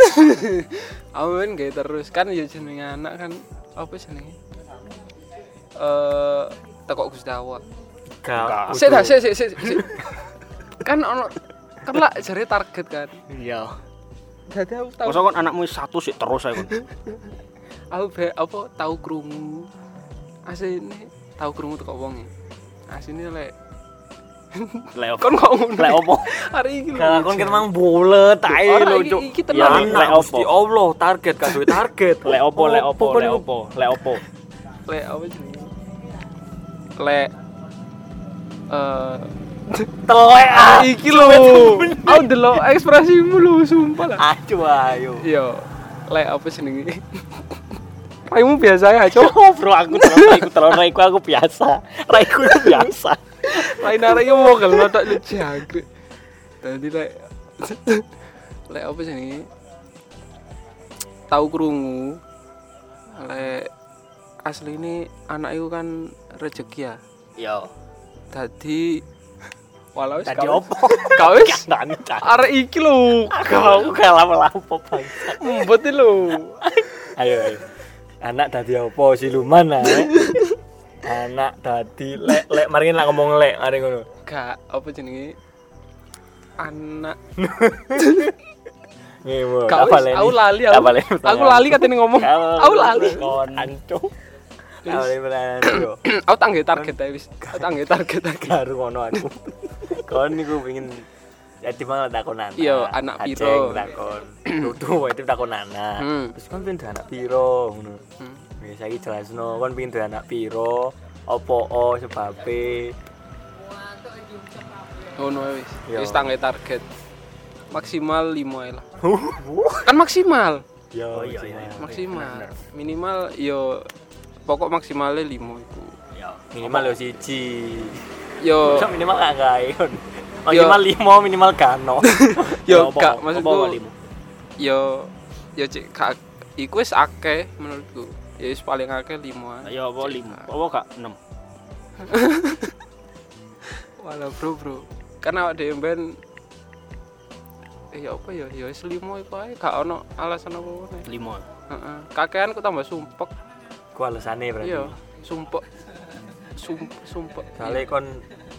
S3: Aku ben gawe terus kan ya jenenge anak kan apa jenenge? Eh tekok Gustawa.
S2: Gak.
S3: Sik dah, sik sik sik. sik. Kan ono kan lah jare target kan.
S4: Iya.
S3: Jadi aku tahu
S4: Masa kon anakmu satu sih terus ae kon.
S3: aku be, apa tahu krungu. Asine tahu krungu tekok wong. ya? Asine lek
S4: Lek opo?
S3: kon kok ngono. ya?
S4: Lek opo?
S3: Hari iki lho.
S2: Gak kon kan mang bulet ae
S3: Ora,
S2: lho,
S3: iki-
S2: Cuk.
S3: iki tenan.
S2: Ya
S4: Iki
S2: anak
S4: lek
S2: Gusti
S4: opo?
S2: Allah, target gak duwe target.
S4: Lek opo, lek opo,
S2: kan
S4: lek
S2: niku?
S4: opo, lek opo.
S3: le apa jenenge le eh
S2: Telek ah.
S3: iki lho aku delok ekspresimu lho sumpah lah
S2: Acu ayo.
S3: yo le apa jenenge raimu biasa ya cok
S4: Bro, aku terus aku terus raiku aku biasa. Raiku itu biasa.
S3: lain arek yo mogel notok lu jangkrik dadi le le apa jenenge tahu krungu le asli ini anak itu kan rezeki ya
S2: Iya.
S4: Yo.
S3: dadi walau wis
S4: Tadi
S3: kawis-
S4: opo?
S3: kawis
S4: Nani tadi.
S3: arek iki lho
S4: Kau gak lama-lama bang.
S3: mbet iki lho
S4: Ayo ayo.
S2: Anak dadi opo siluman ae. Anak dadi lek lek mari nak ngomong lek mari ngono.
S3: gak apa jenenge anak
S2: Ngewo.
S3: gak
S2: apa
S3: wis,
S2: lek?
S3: aku lali aku,
S4: Apa leni?
S3: aku lali katene ngomong aku lali
S4: Kon anco.
S2: Apa lek berani, yo.
S3: aku tak nggih target ae wis aku tak nggih target ae
S2: Garu ngono aku. Kon niku pengin jadi malah takon anak.
S3: Iya, anak piro.
S2: Aceng takon. Dudu wae itu takon anak.
S3: Hmm.
S2: Terus kon pengin duwe anak piro ngono.
S3: Hmm.
S2: Wis saiki jelasno kon pengin duwe anak piro, opo o sebabe.
S3: ngono ae Oh, wis
S4: Iya.
S2: Yo.
S3: wis tak nggih target maksimal 5 ae lah kan maksimal
S2: Yo
S3: Oh,
S4: iya, iya.
S3: maksimal minimal yo pokok maksimalnya 5 iku
S4: Yo.
S2: Minimal yo siji.
S3: yo
S2: Masa minimal gak gayon. Minimal limo, minimal gano.
S3: yo
S4: Apa-
S3: gak
S4: apa
S3: maksudku
S4: walimu?
S3: yo yo cek gak iku wis akeh menurutku ya wis paling akeh 5
S4: Ya apa lima? Apa gak enam?
S3: Walah bro bro. Karena awak dhewe ben eh ya apa ya ya wis limo iku ae gak ono alasan apa apa
S4: Lima.
S3: Heeh. Kakean ku tambah sumpek.
S2: Ku alasane berarti.
S3: Iya, sumpek. Sumpek sumpek.
S2: Kale kon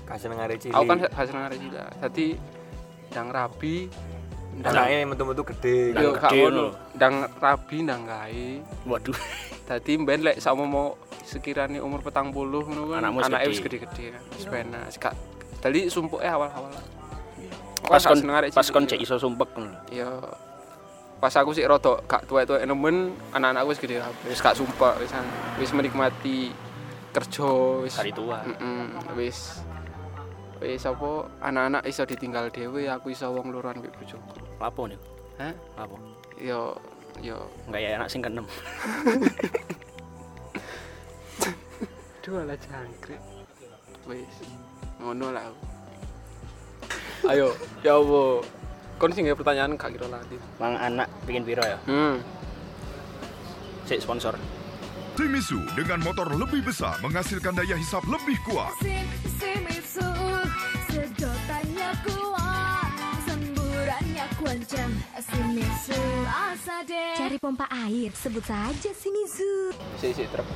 S2: gak seneng arek cilik.
S3: Aku kan gak seneng arek cilik. Dadi ndang rabi,
S2: Nah, ini metu-metu gede.
S3: yo
S4: ndang
S3: gak
S4: gede
S3: ono.
S4: lho.
S3: Ndang rabi ndang gawe.
S4: Waduh.
S3: Dadi ben lek sama mau sekiranya umur petang puluh ngono kan
S4: Anakmu wis
S3: anaknya wis
S4: gede.
S3: gede-gede kan. Wis penak, wis gak. Dadi sumpeke awal-awal.
S4: Pas kon pas kon
S3: cek
S4: cek iso sumpek ngono.
S3: ya pas aku sih rotok gak tua tua nemen anak-anak wis gede kabeh, wis gak sumpah wis wis menikmati kerja wis
S4: Hari tua.
S3: Hmm. Mm-mm, wis wis apa anak-anak iso ditinggal dhewe aku iso wong loran mbek bojoku
S4: Apa nih?
S3: Hah?
S4: Apa?
S3: yo yo
S4: Enggak ya anak sing keenem.
S3: dua lah jangkrik wis ngono lah aku. ayo ya apa kon sing gawe pertanyaan gak kira lali
S4: Mang anak pingin piro ya?
S3: hmm
S4: Sik sponsor.
S5: Shimizu dengan motor lebih besar menghasilkan daya hisap lebih kuat.
S6: Shimizu Sedotannya kuat Semburannya kuancang Shimizu Asade
S7: Cari pompa air, sebut saja Shimizu.
S3: Sik sik truk.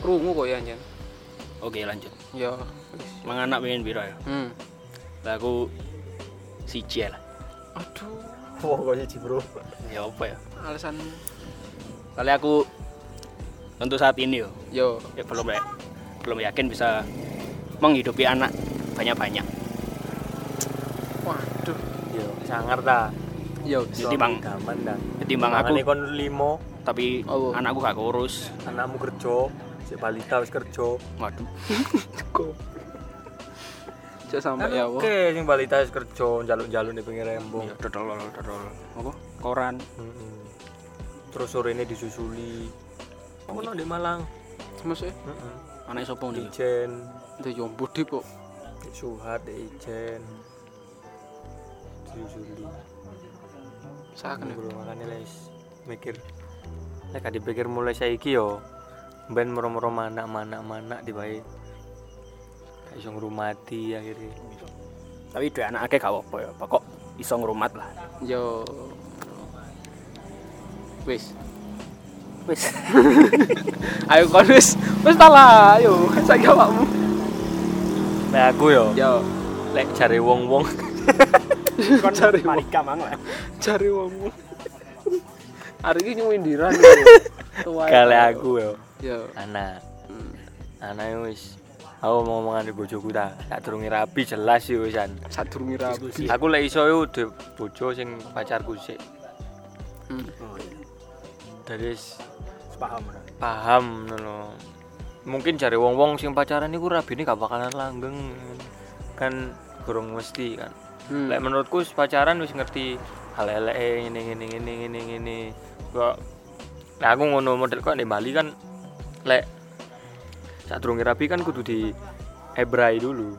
S3: Krungu kok ya anjen.
S4: Oke, lanjut.
S3: Ya.
S4: Mang anak pengen piro ya?
S3: Hmm.
S4: Lah aku siji lah.
S3: Aduh,
S2: Wah, kok sih, Bro.
S4: Ya apa ya?
S3: alasan
S4: Kali aku untuk saat ini yo,
S3: yo
S4: ya belum ya, belum yakin bisa menghidupi anak banyak-banyak.
S3: waduh.
S2: Yo, sangar ta.
S3: Yo.
S4: Jadi bang,
S2: Gaman ta.
S4: ketimbang aku,
S2: Mangane kon limo,
S4: tapi
S3: Oh.
S4: anakku gak kurus.
S2: anakmu kerja, si balita wis kerja.
S4: Waduh,
S3: Cok sampai ya Allah.
S2: Oke, sing balita wis kerja, njaluk-njaluk di pinggir rembong.
S4: ya dodol dodol apa? Koran.
S2: Mm-mm. Terus sore ini disusuli. Oh, no, di Malang.
S3: Maksudnya
S2: Mm-mm.
S4: Anak sapa
S2: Di
S4: nih?
S2: Ijen,
S3: itu yo budi kok.
S2: di Suhat, di Ijen. Disusuli.
S3: Saken yo.
S2: Bro, makanya les mikir. Lek gak dipikir mulai saiki yo. Ben moro-moro mana mana mana dibae. Gak iso ngrumati akhirnya.
S4: Tapi dua anak akeh gak apa ya, pokok iso ngrumat lah.
S3: Yo. Wis.
S4: Wis.
S3: Ayo kon wis. Wis ta lah, ayo. Saiki awakmu.
S2: Lek aku yo,
S3: Yo,
S2: lek jare wong-wong
S4: Kon cari marika mang lah.
S3: cari wong. Hari ini nyuwindiran. Tua.
S2: kale aku yo.
S3: Yo.
S2: Anak. Anak yo wis. Aku mau ngomongan di bojoku ta. Tak durungi rapi jelas yo wisan.
S3: Sadurunge rapi.
S2: Aku lek iso yo di bojo sing pacarku sik.
S3: Hmm.
S2: Dari wis
S4: Paham.
S2: paham ngono. Mungkin jare wong-wong sing pacaran niku rabine gak bakalan langgeng. Kan gorong mesti kan.
S3: Hmm.
S2: Lek menurutku wis pacaran wis ngerti hal eleke ngene ngene ngene ngene ngene. Kok Nah, aku ngono model kok di Bali kan lek sadurunge rapi kan kudu di Ebrai dulu,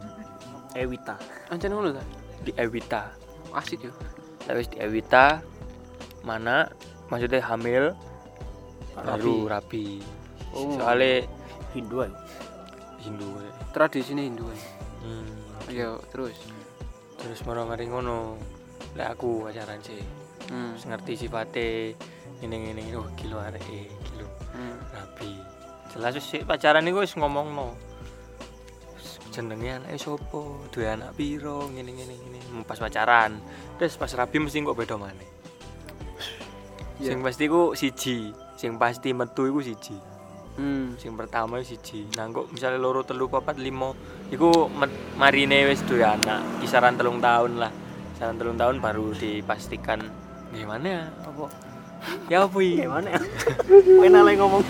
S4: Ewita.
S3: Ancen ngono ta?
S2: di Ewita.
S3: Asik yo.
S2: Terus di Ewita mana maksudnya hamil baru rapi.
S3: Oh.
S2: Soalnya
S4: Hindu ae.
S2: Hindu. ya.
S3: Tradisine Hindu. ya.
S2: Hmm.
S3: Yo, terus.
S2: terus moro mari ngono lek aku pacaran sih
S3: Hmm.
S2: terus ngerti sifate ngene ngene ngene oh kilo areke kilo
S3: Hmm.
S2: rapi jelas wis sih pacaran iku wis ngomongno Wis jenenge anake sopo duwe anak piro ngene ngene ngene Hmm, pas pacaran terus pas rapi mesti kok beda maneh
S3: Iya.
S2: sing pasti ku siji sing pasti metu iku siji
S3: Hmm.
S2: sing pertama siji nanggo misalnya loro telu papat limo iku met- marine wis duwe anak kisaran telung tahun lah kisaran telung tahun baru dipastikan gimana ya apa ya apa
S3: Eh,
S2: gimana
S4: Enak lagi ngomong.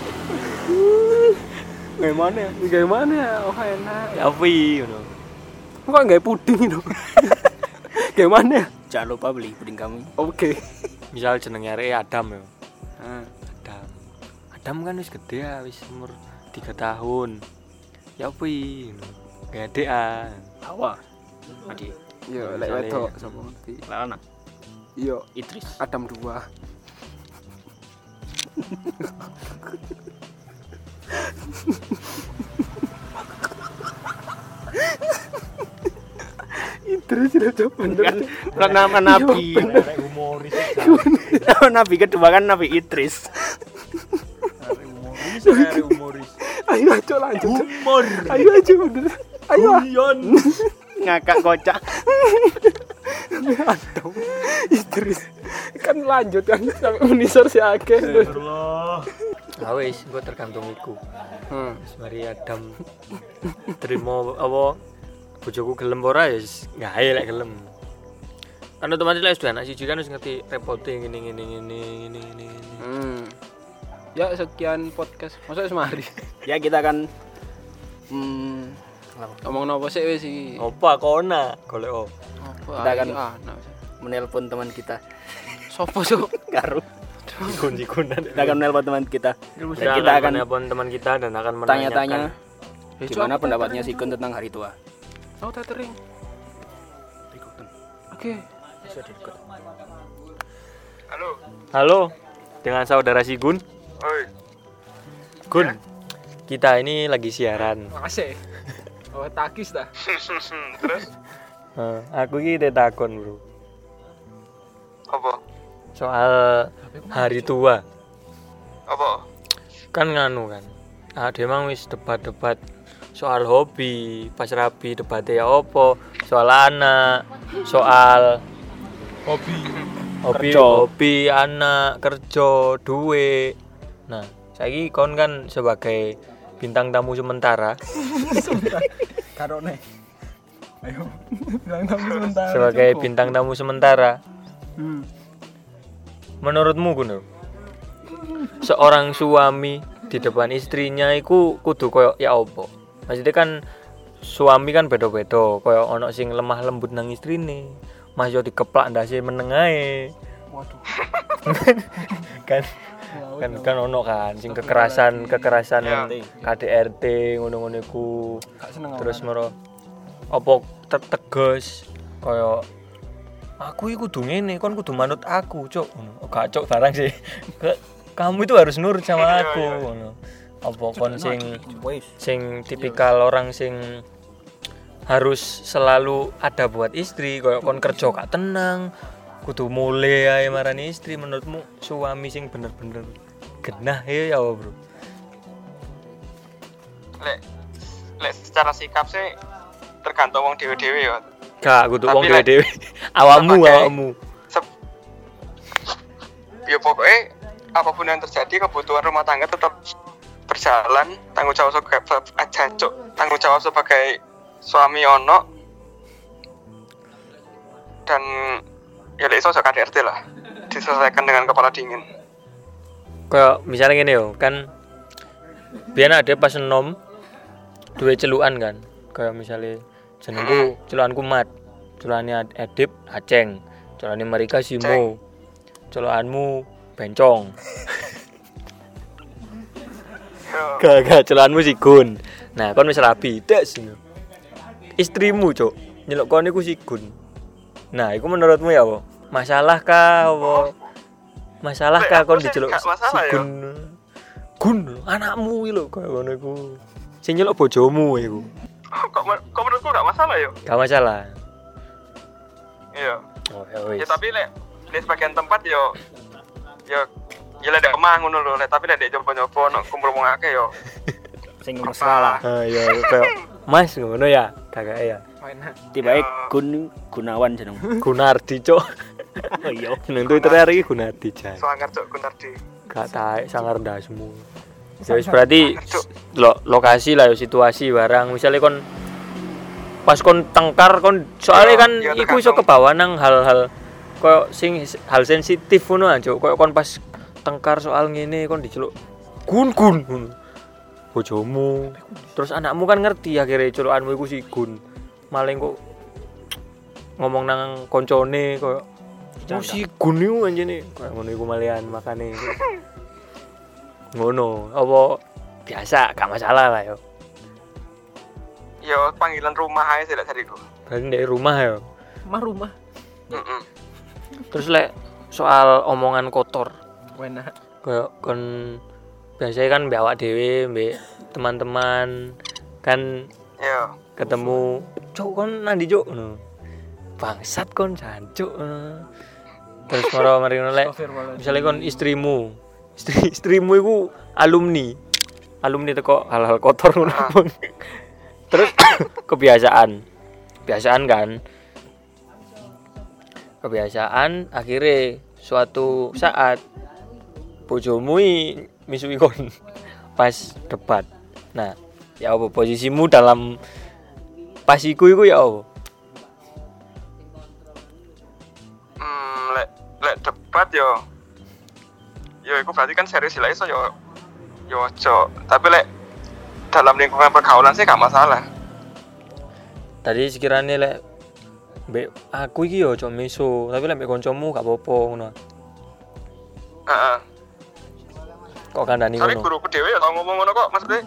S3: Gimana? Gimana? Oh enak.
S2: ya apa ngono
S3: Kok nggak puding itu? Gimana?
S4: Jangan lupa beli puding kamu.
S3: Oke.
S2: misal jenenge arek Adam ya
S3: Nah,
S2: Adam Adam kan wis gede ya wis umur 3 tahun ya apa ngono gede ah
S4: Hawa. Adi.
S3: yo lek
S2: Misalnya-
S3: wedok sapa ngerti.
S4: Lalana.
S3: Yo,
S4: Idris.
S3: Adam dua. Idris sudah coba
S4: kan kan
S3: Iya,
S4: nama nabi nama nabi kedua kan nabi Idris
S3: Ayo aja lanjut. Humor. Ayo aja bener. Ayo. ah.
S4: ngakak kocak
S3: Idris. Kan lanjut kan sampai menisor si Ake.
S2: ah wis gua tergantung iku
S3: Hmm.
S2: Wis mari Adam terima apa bojoku gelem apa ora ya wis gawe lek gelem. Kan otomatis lek sudah anak siji kan wis ngerti repote ngene ngene ngene ngene ngene. ngene.
S3: Hmm. Ya sekian podcast. Masuk semari.
S4: ya kita kan hmm,
S3: Ngomong apa sih wis
S8: Oh.
S3: iki?
S2: Opa kona golek o.
S3: Kita
S4: ayo,
S3: kan
S4: ah, menelpon teman kita
S3: Sopo so?
S4: Karu
S2: Kunci-kunan.
S4: kita akan menelpon teman kita dan
S2: Kita
S4: kita akan
S2: akan telepon teman kita dan akan menanyakan
S4: tanya-tanya gimana pendapatnya si Kun tentang hari tua
S3: Oh, tethering. Oke.
S8: Halo.
S2: Halo, dengan saudara si Gun.
S8: Oi.
S2: Gun, kita ini lagi siaran.
S3: Makasih. Oh, takis dah.
S8: Terus
S2: Eh, aku ini udah takon bro,
S8: apa?
S2: soal hari tua.
S8: Apa?
S2: Kan nganu kan, ah, dia emang wis debat-debat soal hobi, pas rapi debatnya ya opo, soal anak, soal
S3: Hobi.
S2: hobi
S4: Kerja.
S2: hobi anak kerja duit nah saya kon kan sebagai bintang tamu sementara
S9: karone ayo bilang tamu sebentar
S2: sebagai bintang tamu sementara
S3: Hmm.
S2: menurutmu Guno seorang suami di depan istrinya iku kudu koyo ya opo maksudnya kan suami kan beda-beda koyo ono sing lemah lembut nang istrine Mas yo dikeplak ndase meneng ae
S3: Waduh.
S2: kan kan kan ono kan sing kekerasan kekerasan KDRT ngono-ngono iku
S3: Gak seneng aku.
S2: terus mero opo te- tegas kaya aku iku kudu ngene kon kudu manut aku cuk ngono Oh, gak cuk barang sih Ke- kamu itu harus nurut sama aku ngono opo kon sing
S8: Iya,
S2: sing tipikal orang sing harus selalu ada buat istri kaya kon
S8: Iya,
S2: kerja gak tenang kudu mulai ae marani istri menurutmu suami sing bener-bener genah ya ya apa, bro
S8: Lek lek secara sikap sih tergantung wong dewe-dewe ya.
S2: gak kudu
S8: Tapi
S2: wong
S8: lek-
S2: dhewe awakmu
S8: pakai-
S2: awakmu
S8: Sep ya pokoknya apapun yang terjadi kebutuhan rumah tangga tetap berjalan tanggung jawab sebagai aja cuk tanggung jawab sebagai suami ono dan ya lek iso sok KDRT lah diselesaikan dengan kepala dingin
S2: kayak misalnya gini yo kan biar ada pas enom dua celuan kan kayak misalnya jenengku celuanku mat celuannya edip aceng celuannya mereka simo celuanmu bencong gak gak celuanmu sigun nah kon wis rapi tes ngono. istrimu cok nyelok kon iku sigun nah iku menurutmu ya apa masalah kah apa masalah
S8: Lek,
S2: kah
S8: aku
S2: kon
S8: sih
S2: diceluk
S8: gak masalah ya.
S2: sigun gun anakmu iki lho kaya ngono iku sing nyelok bojomu iku
S8: Oh, kok, men- kok menurutku gak masalah ya? yo
S2: gak masalah
S8: iya
S2: oh ya
S8: ya
S2: wis
S8: tapi lek di sebagian tempat yo yo ya lek ndak emang ngono lho lek tapi lek ndak nyoba-nyoba ono kumpul wong akeh ya. yo
S4: sing masalah
S2: ah ya kayak mas ngono ya kakak ya
S4: tiba Gun Gunawan jeneng
S2: Gunardi cok
S4: oh iya
S2: jeneng Twitter hari ini Gunardi jan
S8: soangkar cuk kuntardi
S2: gak taek sangar dasmu ya wis
S8: Nah,
S2: berarti lo, lokasi lah yo situasi barang misalnya kon pas kon tengkar kon soalnya
S8: Iya,
S2: kan
S8: iya,
S2: iku iso
S8: tergantung.
S2: kebawa nang hal-hal koyo sing hal sensitif ngono anjo koyo kon pas tengkar soal ngene kon diceluk gun gun ngono. bojomu terus anakmu kan ngerti akhirnya celukanmu iku si gun maling kok ngomong nang koncone koyo Oh si gun iku anjene koyo ngono iku malian makane ngono apa biasa gak masalah lah yo
S8: yo panggilan rumah aja sih lek dariku
S2: berarti dari rumah yo
S3: Rumah rumah.
S8: heeh
S2: terus lek soal omongan kotor
S3: Enak.
S2: kayak kon biasanya kan mbak awak dewe mbak teman-teman kan
S8: yo
S2: ketemu cok kon nandi cok ngono. bangsat kon jancuk ngono. terus moro mari ngono lek misalnya kon istrimu istri istrimu iku alumni alumni teko hal-hal kotor ngono Bang. terus kebiasaan kebiasaan kan kebiasaan akhirnya suatu saat bojomu i misui kon pas debat nah ya apa posisimu dalam pasiku iku ya apa
S8: hmm lek lek debat yo yo iku berarti kan serius sih, lek iso yo yo ojo tapi lek dalam lingkungan pergaulan sih gak masalah
S2: tadi sekiranya lek mbek aku iki yo cok miso tapi lek mbek kancamu gak apa-apa ngono
S8: heeh
S2: kok kandani
S8: tapi
S2: ngono
S8: guruku dhewe ya tau ngomong ngono kok maksudnya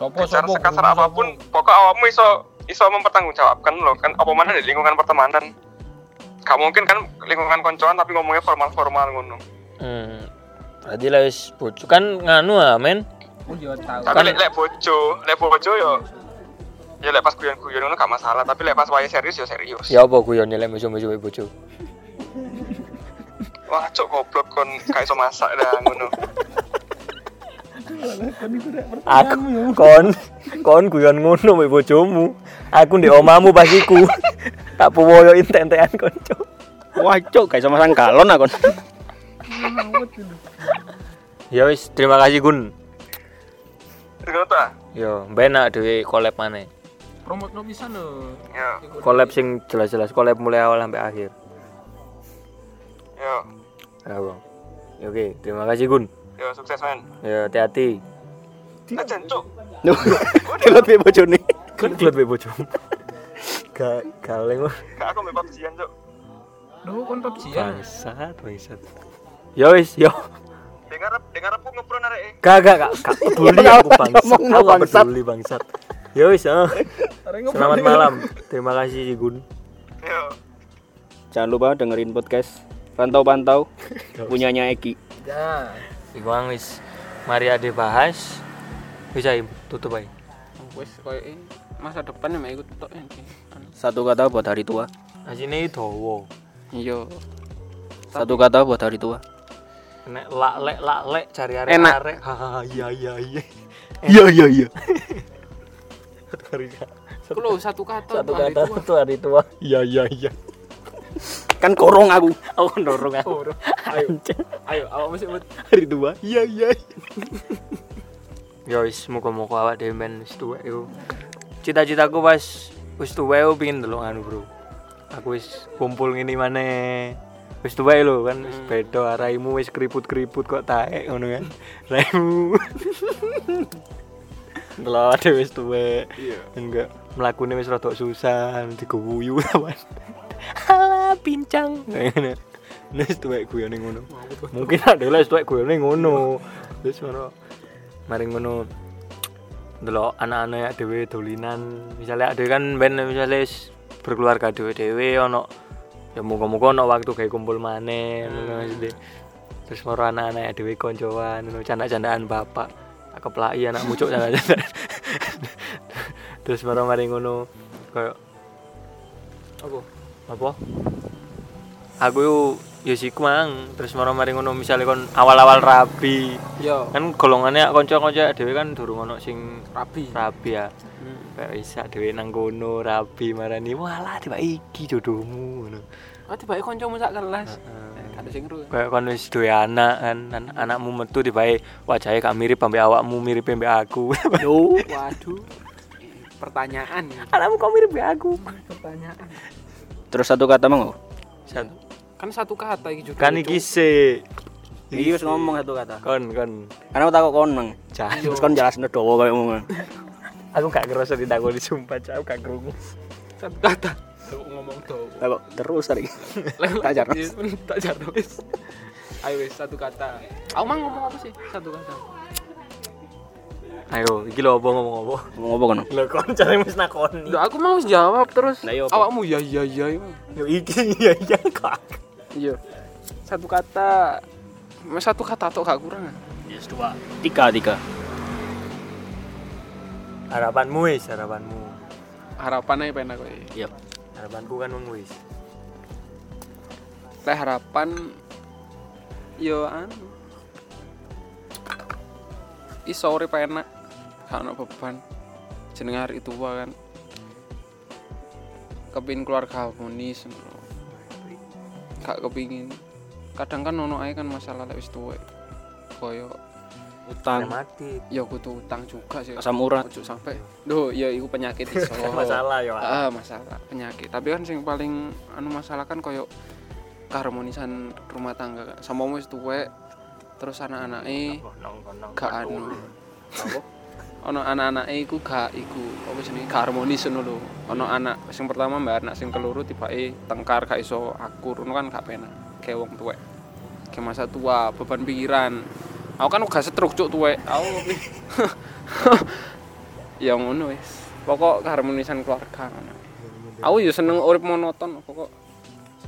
S9: sopo
S8: bicara
S9: sopo
S8: sekasar apapun pokok awakmu iso iso mempertanggungjawabkan loh kan apa mana di lingkungan pertemanan gak mungkin kan lingkungan koncoan tapi ngomongnya formal-formal ngono.
S2: Hmm. Berarti lah wis bocu kan nganu ah, men.
S9: Aku juga tahu.
S8: Tapi lek lek bojo, lek bojo yo ya lek pas guyon-guyon ngono gak masalah, tapi lek pas wayahe serius yo serius.
S2: Ya apa guyon lek mesum-mesum bocu.
S8: Wah, cok goblok kon gak iso masak dah ngono.
S2: Aku kon kon guyon ngono mbek bojomu. Aku ndek omamu pas iku. tak puwoyo entek-entekan konco.
S4: Wah, cuk, gak iso masang galon aku.
S2: Ya wis, terima kasih Gun.
S8: Ngono ta?
S2: Yo, benak dhewe collab maneh.
S9: Promote no bisa lho.
S8: Ya,
S2: Collab sing jelas-jelas collab mulai awal sampai akhir.
S8: ya,
S2: Ya, Bang. Ya, Oke, terima kasih Gun.
S8: ya sukses men.
S2: Ya, hati-hati.
S8: Ajan cuk.
S4: Kelot piye bojone?
S2: Kan klub bojomu. Ga galeng wah.
S8: Gak aku mbek PUBG-an cuk.
S9: Lho kon PUBG ya.
S2: bangsat, bangsat. Ya wis, yo.
S8: Dengar dengar aku ngepron areke.
S2: Gak gak gak gak peduli aku bangsat. Aku gak peduli bangsat. Ya wis, ah. Selamat malam. Terima kasih si Gun.
S8: Ya.
S4: Jangan lupa dengerin podcast Pantau-pantau punyanya Eki.
S9: Ya.
S2: Iwang wis. Mari ade bahas. Bisa Im, tutup aja.
S3: Wes koyo ini masa depan emang ikut tok ini.
S4: Satu kata buat hari tua.
S2: Asine dawa.
S3: Iya.
S4: Satu kata buat hari tua.
S2: Nek lak lek lak lek cari arek
S3: Enak.
S2: arek. Ha iya iya iya.
S4: Iya iya iya.
S3: Aku lho satu kata
S2: Satu
S3: Pak,
S2: kata
S3: itu.
S2: itu hari tua. Iya iya iya.
S4: Kan korong aku.
S2: Aku dorong aku.
S3: Ayo, awak mesti buat
S4: Hari tua. Iya iya.
S2: Ya wis muga-muga awak dhewe men wis tuwek yo. Cita-citaku pas wis tuwek yo pengin delok anu, Bro. Aku wis kumpul ngene maneh. Wis tuwek lho kan
S4: Hmm.
S2: wis beda araimu wis keriput-keriput kok taek ngono kan. Raimu. Delok dhewe wis tuwek.
S4: Iya.
S2: Enggak mlakune wis rada susah diguyuyu lawan. Ala pincang. Ngono. Wis tuwek guyone ngono. Mungkin ada wis tuwek guyone ngono. Wis ngono. mari ngono delok anak-anak dhewe dolinan misalnya ada kan ben misalnya wis berkeluarga dhewe-dhewe ono ya muga-muga ono waktu gawe kumpul maneh ngono maksudnya. terus moro anak-anak dhewe koncoan ngono canda-candaan bapak tak keplaki anak mucuk canda-candaan terus moro mari ngono koyo apa apa aku yo yo siku mang terus moro mari ngono misalnya kon awal-awal rabi
S3: yo
S2: kan golongannya konco-konco dhewe kan durung ono sing
S3: rapi.
S2: rabi ya kayak bisa dhewe nang kono rabi marani walah tiba iki jodohmu ngono
S3: Oh, tiba kancamu sak kelas. Ada sing ru.
S2: kayak kon wis duwe anak kan an- anakmu metu tiba wajahnya gak mirip ambek awakmu mirip ambek aku
S3: Yo, waduh. Pertanyaan.
S2: anakmu kok mirip ambek aku
S3: Pertanyaan.
S4: Terus satu kata mau.
S2: Satu.
S3: Kan satu kata iki judulnya.
S2: kan iki sik
S4: Iki Iya, wis ngomong satu kata.
S2: kon kon
S4: Karena aku takut kon mang.
S2: Jan.
S4: Terus kan kon jelasno dowo koyo ngono.
S2: aku gak ngerasa ditakoni sumpah Cak. aku gak krungu
S3: satu kata. Lu ngomong tuh.
S4: Takut terus tadi. Tak jarno.
S3: Yes, men, Iya, Tak jarno. wis. Ayo wis satu kata. Aku mang ngomong apa sih? Satu kata.
S2: ayo iki lho apa ngomong apa
S4: Ngomong apa kono?
S2: lho kon cari wis nakoni
S3: Duh, aku mau wis jawab terus.
S4: Nah, iya, apa?
S3: Awakmu ya ya ya. ya.
S2: yo iki iya iya kok
S3: Iya. Satu kata Mas, satu kata tok gak kurang. ah.
S4: Yes, dua. Tiga tiga.
S2: harapanmu wis harapanmu
S3: Harapan aja pengen aku. ya.
S4: Iya.
S2: harapanku kan wong wis
S3: Lah harapan yo anu. Iso urip enak. Gak ono beban. Jeneng hari tua kan. Kepingin keluarga harmonis. ngono. Gak kepingin. Kadang kan ono ae kan masalah lek wis tuwek. Koyo
S4: Utang.
S2: mati
S3: ya kudu utang juga sih.
S4: Asam urat.
S3: Ojo sampai. Duh, ya iku penyakit iso.
S2: masalah yo
S3: ah masalah penyakit tapi kan sing paling anu masalah kan koyo keharmonisan rumah tangga kan sama wis tuwek terus anak-anake gak anu ono anak-anake iku gak iku apa jenenge gak harmonis ngono lho ono anak sing pertama mbak anak sing keluru tibake tengkar gak iso akur ngono kan gak penak kayak wong tuwek kayak masa tua beban pikiran aku kan gak setruk cuk tuwek aku ya ngono wis pokok keharmonisan keluarga ngono aku yo seneng urip monoton pokok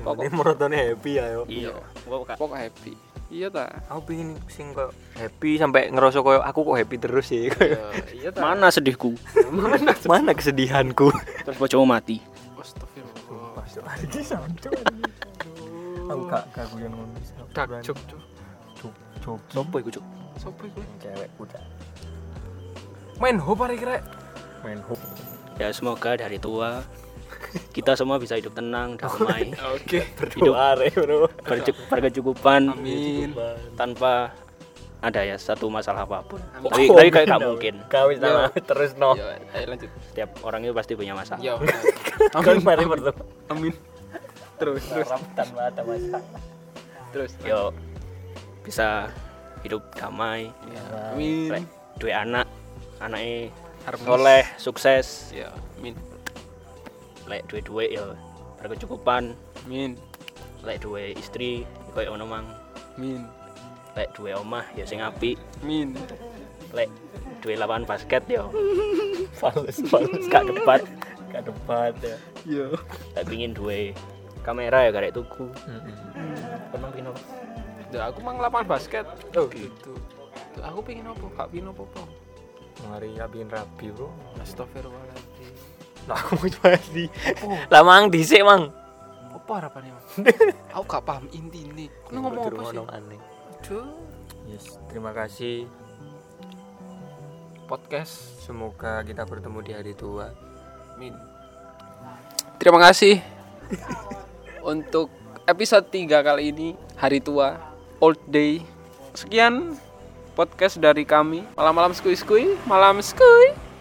S2: Ini merotone happy ya yo.
S4: iya gua kak
S3: pokok happy iya ta
S2: Aku pingin sing kok happy sampai ngerasa koyo aku kok happy terus sih.
S3: Iya, iya ta
S4: mana sedihku
S2: Mana kesedihanku?
S4: terus bojomu mati
S3: astagfirullah
S2: Aku gak kaguyan ngono.
S3: dak cuk cuk
S2: Cuk,
S4: sopo iku cuk
S3: sopo iku
S2: cewek udah
S3: main ho pare kira
S2: main hook.
S4: ya semoga dari tua kita semua bisa hidup tenang damai
S3: oke
S4: hidup
S2: are, Bro.
S4: berju- berkecukupan
S3: amin
S4: tanpa ada ya satu masalah apapun
S3: Amin.
S4: tapi tapi kayak gak mungkin
S2: Kawis sama terus no.
S3: Yo, ayo lanjut
S4: setiap orang itu pasti punya masalah
S3: Oh. yo
S2: Kan mari bertemu.
S3: amin terus terus
S2: tanpa ada masalah.
S3: terus
S4: yo bisa hidup damai
S3: amin
S4: lek duwe anak anaknya
S3: Harmonis.
S4: soleh sukses
S3: ya amin
S4: lek duwe duwe yo berkecukupan
S3: amin
S4: lek duwe istri koyo ono mang
S3: amin
S4: lek duwe omah ya sing apik
S3: amin
S4: lek duwe lapangan basket yo
S2: Fals, fals.
S4: gak debat
S2: Gak debat ya.
S3: yo
S4: lek pingin duwe kamera ya karek tuku emang pino
S3: Duh, aku mang lapangan basket oh gitu Duh, aku pengen apa gak pengen apa-apa
S2: Mari abin rapi, Bro.
S3: astagfirullahaladzim
S2: Lah aku mau coba di. Lah mang dhisik, Mang.
S3: apa harapannya Mas? aku gak paham inti ini kau ngomong apa sih
S2: Dirungokno maneh.
S3: aduh
S2: Yes, terima kasih.
S3: podcast
S2: Semoga kita bertemu di hari tua.
S3: Min. Terima kasih untuk episode 3 kali ini hari tua old day. Sekian podcast dari kami. Malam-malam skui-skui, malam skui.